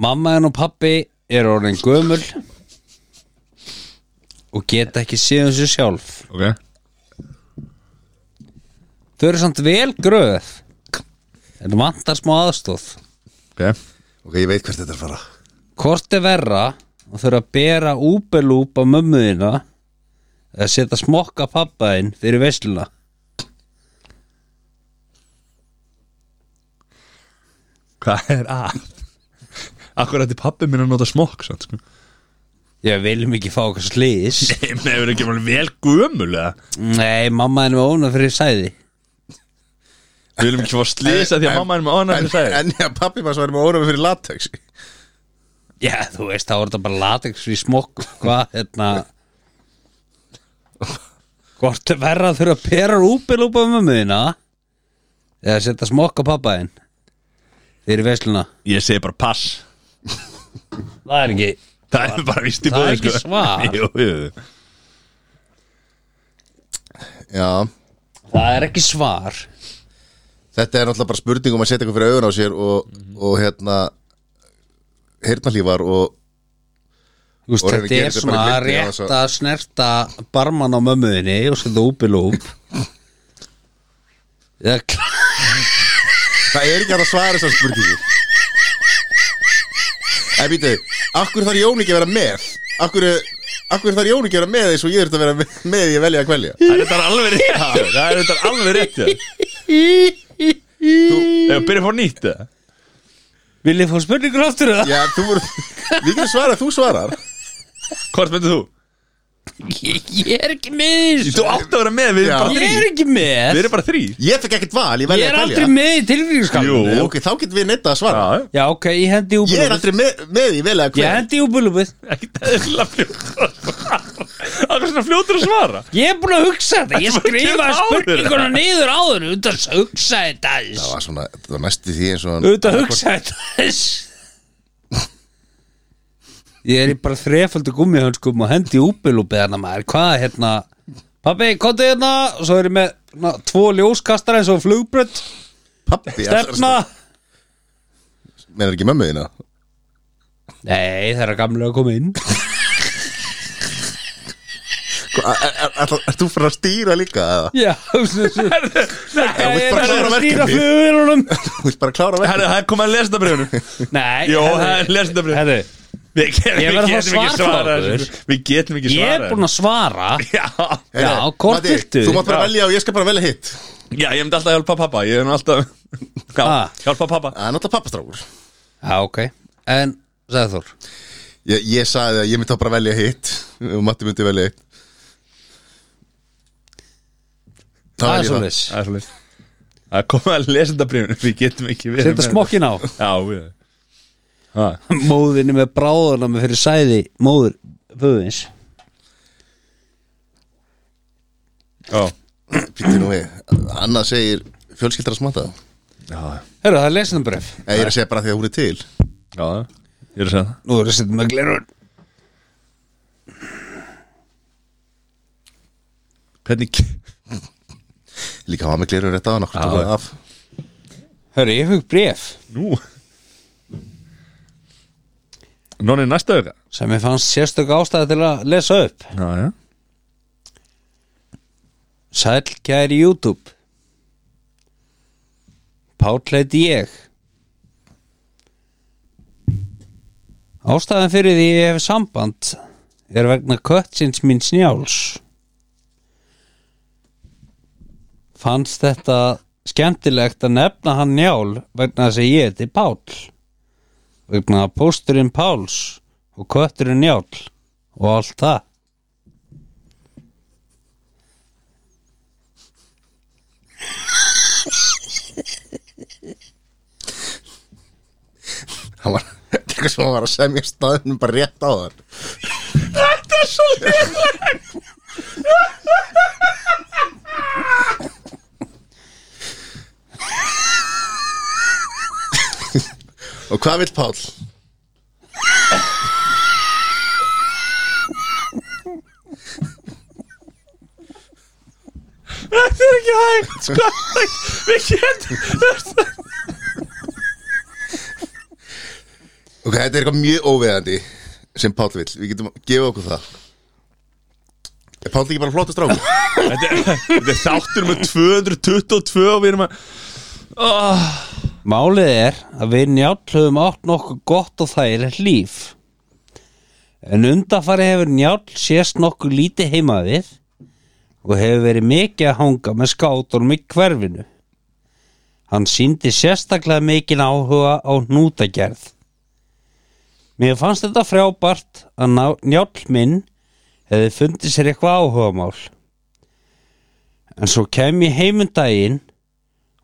Mamma henn og pappi eru orðin gömul og geta ekki síðan sér sjálf
ok
Þau eru samt vel gröð En vantar smá aðstóð
ok
Ok, ég veit hvert þetta er að fara
Hvort er verra að þurfa að bera úbelúp á mömmuðina eða setja smokka pappaðinn fyrir vesluna
Hvað er að? Akkur ætti pappi minn að nota smokk sann, sko.
Ég viljum ekki fá okkar slís
Nei, menn hefur ekki alveg vel gömul eða?
Nei, mamma henni var óna fyrir sæði
Við viljum ekki fá slisa því að mamma er með onan
En,
fyrir sæði
en já, pappi maður svarði með órafi fyrir latex
Já, þú veist, það voru þetta bara latex við smokk Hvað, hérna Hvort er verra að þurfa að bera úbelúp á mömmuðina eða setja smokka pappaðinn fyrir vesluna
Ég segi bara pass
Það er ekki
Það er bara vist í
Það er
bóði
ekki svar.
Jú, jú
Já,
Það er ekki svar
þetta er náttúrulega bara spurning um að setja eitthvað fyrir augun á sér og,
Mhm.
og hérna heyrnarlífar og
Þú veist,
Og reyna
þetta
að gera
er
þetta
svona
bara í myndinni á
rétt
þess að-
að snerta barman á mömmuðinni og setja úpilúp Já, klart
Það er ekki hægt að svara þessar spurningu En býtu, akkur þarf Jón ekki að vera með? Akkur, akkur þarf Jón ekki að vera með eins og ég þurft að vera með- með í að velja að kvelja?
Það er þetta alveg rétt já. Það er þetta alveg rétt já. Ef byrja fór nýtt eða?
Viljið fá spurningur aftur það?
Já, þú voru, við getum svarað, þú svarar
Hvort myndir þú?
Ég, ég er ekki með í þessu
Þú átt að vera með, við
Já.
erum bara
Ég
þrý
er ekki
Við
með
erum bara þrý
Ég fekk ekkert val í
Ég
velja
er
að kvelja
aldrei með í tilfyrirskapinu
Jú.
Nei, Ok, þá getum við neitt að svara
Já,
Já, ok, ég hendi
Ég er
úpilúp
aldrei með, með í velja að
Ég
kvelja
hendi úpilúpið
ekki það er svona fljótur að svara Það er svona fljótur að svara
Ég er búin að hugsa þetta Ég
Ertu búin að gera það
skrifa
áður?
spurninguna niður áður Út að hugsa þetta aðeins.
Það var svona, það var næstu því eins og hann
Auðvitað hugsa þetta aðeins. Ég er í bara þrefaldi gummihönskum og hendi úpilúpið hana maður Hvað er hérna Pabbi, komdu hérna og Svo er ég með na, tvo ljóskastar eins og flugbrödd
Pappi,
Stefna
Menar ekki mömmu þína?
Nei, það er að gamlega að koma inn
Hva- er- er- ætla- Ert þú fyrir að stýra líka? eða?
Já, þessu Nei,
vilt
ég er
bara
bara
klára
að stýra
verkefnið.
flugvélunum
Þú vilt bara klára vekk
Herri, það er komið að lesa þetta breyfnum
Nei,
Jó,
herðu,
það er lesendabréf.
herðu,
Við getum,
Ég verð að fá
við getum ekki
svar frá
svarað
okkur.
þessu. Við getum ekki
Ég
svarað
er búin að svara
Já,
Já, hvort viltu?
Þú mátt bara
Já.
velja og ég skal bara velja hitt
já, ég myndi alltaf að hjálpa pappa Ég er nú alltaf já,
Ah.
Hjálpa pappa
Það er náttúrulega pappastrákur
Já, ok En, sagði Þór
Ég, ég sagði að ég myndi þá bara velja hitt og Matti myndi velja hitt Þá
Það
vel
er
ég
svo
Það er svolítið Það er komið að lesendabrifinu Við getum ekki verið
Setja
með
smokkin á
þetta. Já, við Ah. Ha,
móðinni með bráðuna með fyrir sæði móður föðins
já,
Pítur nú við Anna segir fjölskyldar að smata
já,
Hörru, það er lesendabref
Nei, ég er að segja bara því að hún er til
já Ég er að segja það
Nú erum við setjum með glerun
Hvernig
Líka hafa með glirur rétt á hann okkur tók það af
Hörru, ég hug bref
Nú Nóni næsta auka
sem ég fannst sérstök ástæði til að lesa upp
Já, já
Sæll kæri YouTube Páll heiti ég Ástæðan fyrir því ég hef samband er vegna köttsins mín snjáls Fannst þetta skemmtilegt að nefna hann njál vegna þess að ég heiti Páll vegna að pósturinn Páls og kötturinn njál og allt það
Hann var, þetta er eitthvað sem hann var að semja staðnum bara rétt á hann Og hvað vill Páll?
ekki hægt sko. Við getum
Ok, þetta er eitthvað mjög óveðandi sem Páll vill, við getum að gefa okkur það Er Páll ekki bara flott að stráku?
Þetta er, þetta er þáttur með 222 og við erum að oh,
Málið er að við njállum átt nokkuð gott og þægilegt líf En undanfari hefur njáll sést nokkuð lítið heima við og hefur verið mikið að hanga með skátunum í hverfinu Hann síndi sérstaklega mikinn áhuga á hnútagerð Mér fannst þetta frábært að ná- njáll minn hefði fundið sér eitthvað áhugamál En svo kem ég heimundaginn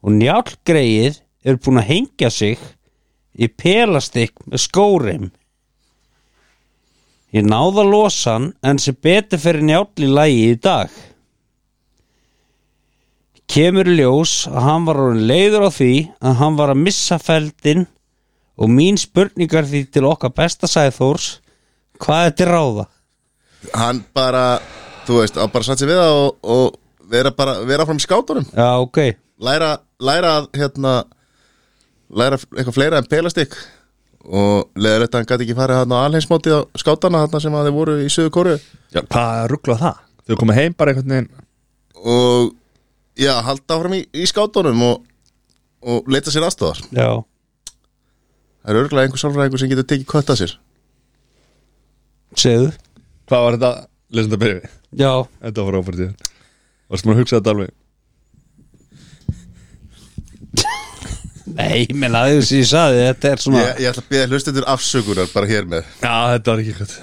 og njálgreið er búin að hengja sig í pelastikk með skórim. Ég náða losan en sem betur fyrir njáll í lagi í dag. Kemur í ljós að hann var orðin leiður á því að hann var að missa feldin og mín spurningar því til okkar besta sæðþórs hvað er til ráða?
Hann bara, þú veist, hann bara satt sér við það og, og vera bara, vera fram í skátunum
Já, ok.
Læra, læra að, hérna, læra eitthvað fleira en pelastikk Og leður þetta hann gæti ekki farið hann á alheimsmótið á skátana þarna sem að þeir voru í söðu kóru
Já, hvað ruggla það? Þau komið heim bara einhvern veginn
Og, já, halda áfram í, í skátunum og, og leita sér aðstofar
Já.
Það er örgulega einhver sálfræðingur sem getur tekið kött að sér
Segðu.
Hvað var þetta? Lesum þetta byrjum við
Já.
Þetta var áfært ég Varst maður að hugsa þetta alveg
Nei, menn aðeins ég saði þetta er svona...
Ég, ég ætla að byrja hlustendur afsökunar bara hér með
Já, þetta var ekki eitthvað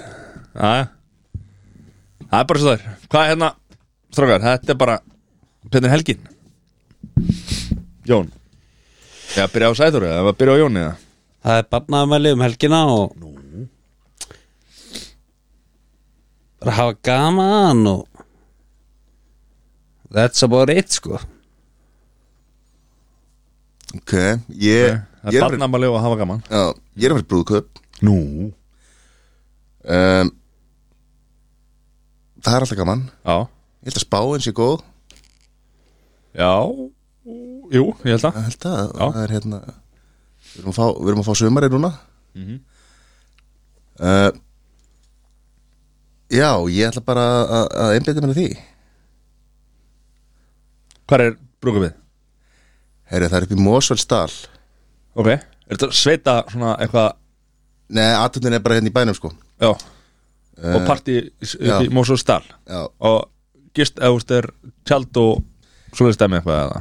Já, það er bara svo þær Hvað er hérna? Strákar, þetta er bara Hvernig er helgin? Jón Já, byrja á Sæþóru eða var að byrja á Jóni eða?
Það er barnaðamæli um helgina og Nú. bara hafa gaman og that's about it sko
Ok, ég,
Það er
ég, er, barna...
barnamalið og að hafa gaman
já, ég er að fyrir brúðköp
Nú
um, Það er alltaf gaman
Já
Ég held að spáin sé góð
Já Jú, ég held að
Ég held að
Já.
það er hérna Við erum að fá, við erum að fá sömari núna
Mhm.
uh, Já, ég ætla bara að- að einbytta mér að því
Hvar er brúkum við?
Heyri, það er upp í Mosfellsdal
Ok Er þetta sveita svona eitthvað
Nei, aðtöndin er bara hérna í bænum sko
Já Og partí
Eh, já.
upp í Mósos Dal
Já.
Og gist eða úst er tjald og Svoleiðist dæmi eitthvað eða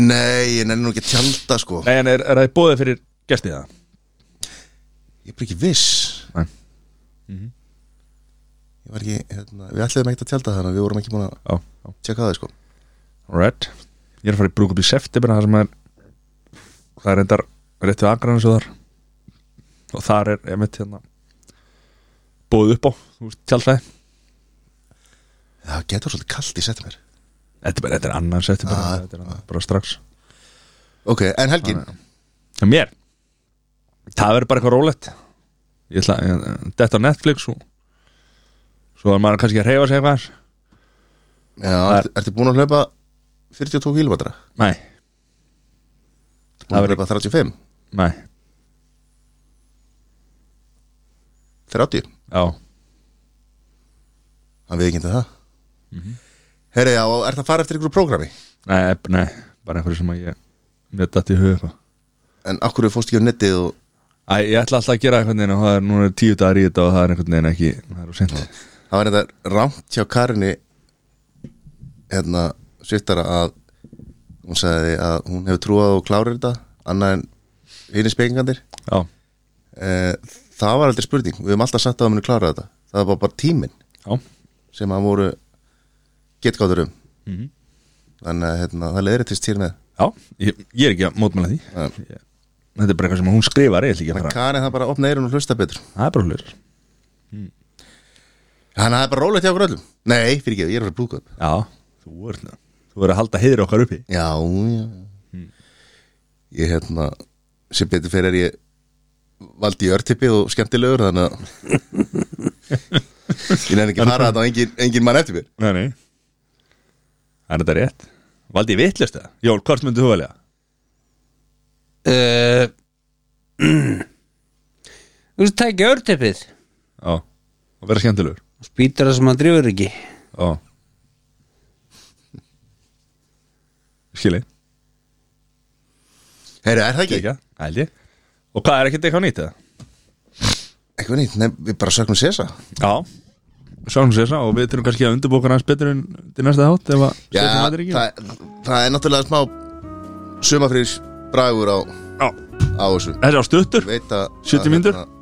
Nei, ég nenni nú ekki að tjálta sko
Nei, en er, er það bóðið fyrir gestið það?
Ég er bara ekki viss Mhm.
Nei.
Ég var ekki, hérna, við ætliðum ekkert að tjálta þannig Við vorum ekki búin að
Já, já
tjekka það sko
Alright Ég er að fara í brúkum í september Það sem er Það er endar rétt við Akranes og þar Og þar er einmitt hérna Bóðið upp á Þú veist, tjaldfæði
Það getur svolítið kallt í setjum mér
Þetta er bara, þetta er annan september
Ah,
Þetta er annað, bara strax
Ok, en helgin
Já, mér Það verður bara eitthvað rólegt Ég ætla að detta á Netflix og svo er maður kannski að reyfa sig eitthvað
Já, ertu, ertu búin að hlaupa 42 km Búin
Nei, Það
að
verður-
hlaupa 35,
nei,
30
já
Hann við ekki það mm Herri, já, og ert að fara eftir ykkur prógrami
Nei, eb- nei, bara einhverju sem að ég mér datt í huga eitthvað
En akkur við fórst ekki á netið og
Æ, ég ætla alltaf að gera einhvern veginn og það er núna tíu dagar í þetta og það er einhvern veginn ekki það er úr sent
Það var þetta rámt hjá Karinni hérna sýttara að hún sagði að hún hefur trúað og klárir þetta annað en hinn spekingandir
Já,
eh, það var aldrei spurning, við höfum alltaf sagt að hún klára þetta það var bara tíminn
já,
sem hann voru getgáttur um þannig að hérna, það leiðrættist til með
já ég, ég er ekki að mótmæla því
Nei.
ég, Þetta er bara eitthvað sem hún skrifar ég ætla ekki að fara
Karin það bara opna eirun og hlusta betur
Það er bara hlut
hann hafði bara rólegt hjá okkur öllum nei, fyrir ekki, ég er að blúka upp
Já, þú er, þú er að halda heiðir okkar uppi
Já, já Ég hérna sem betur fyrir er ég valdi í örtipi og skemmtilegur þannig að ég nefn ekki að fara þetta og engin, engin mann eftir mér
Nei, nei Það er þetta rétt Valdi ég vitlust það? Jól, hvort myndið þú velja?
uh, Þú veist, tæki örtypið
Já, og vera skemmtilegur
Spýtar það sem hann drifur ekki
Já Skili,
Heyrðu, er það ekki?
ekki, held ég Og hvað, er ekkert eitthvað nýtt eða?
Eitthvað nýtt, nefn, við bara söknum sér
Já Sjáum sér það og við þurfum kannski að undirbóka hans betur en til næsta þátt ef að
Já,
Stefán mætir ekki.
það, það er náttúrulega smá sumafrýrs bragur á,
Já.
á þessu
Þessi á stuttur
Veit að
70
að,
mínútur?
hérna,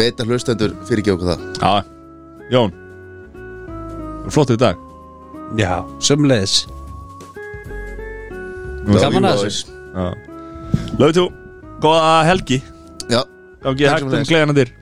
Veit að hlustendur fyrir ekki okkur það
Já, Jón Flottu í dag
Já, sömulegis Gaman að þessu.
Löfðu þú, góða helgi
Já,
Gangi
Takk
hægt um
sömuleiðis.
gleðina þér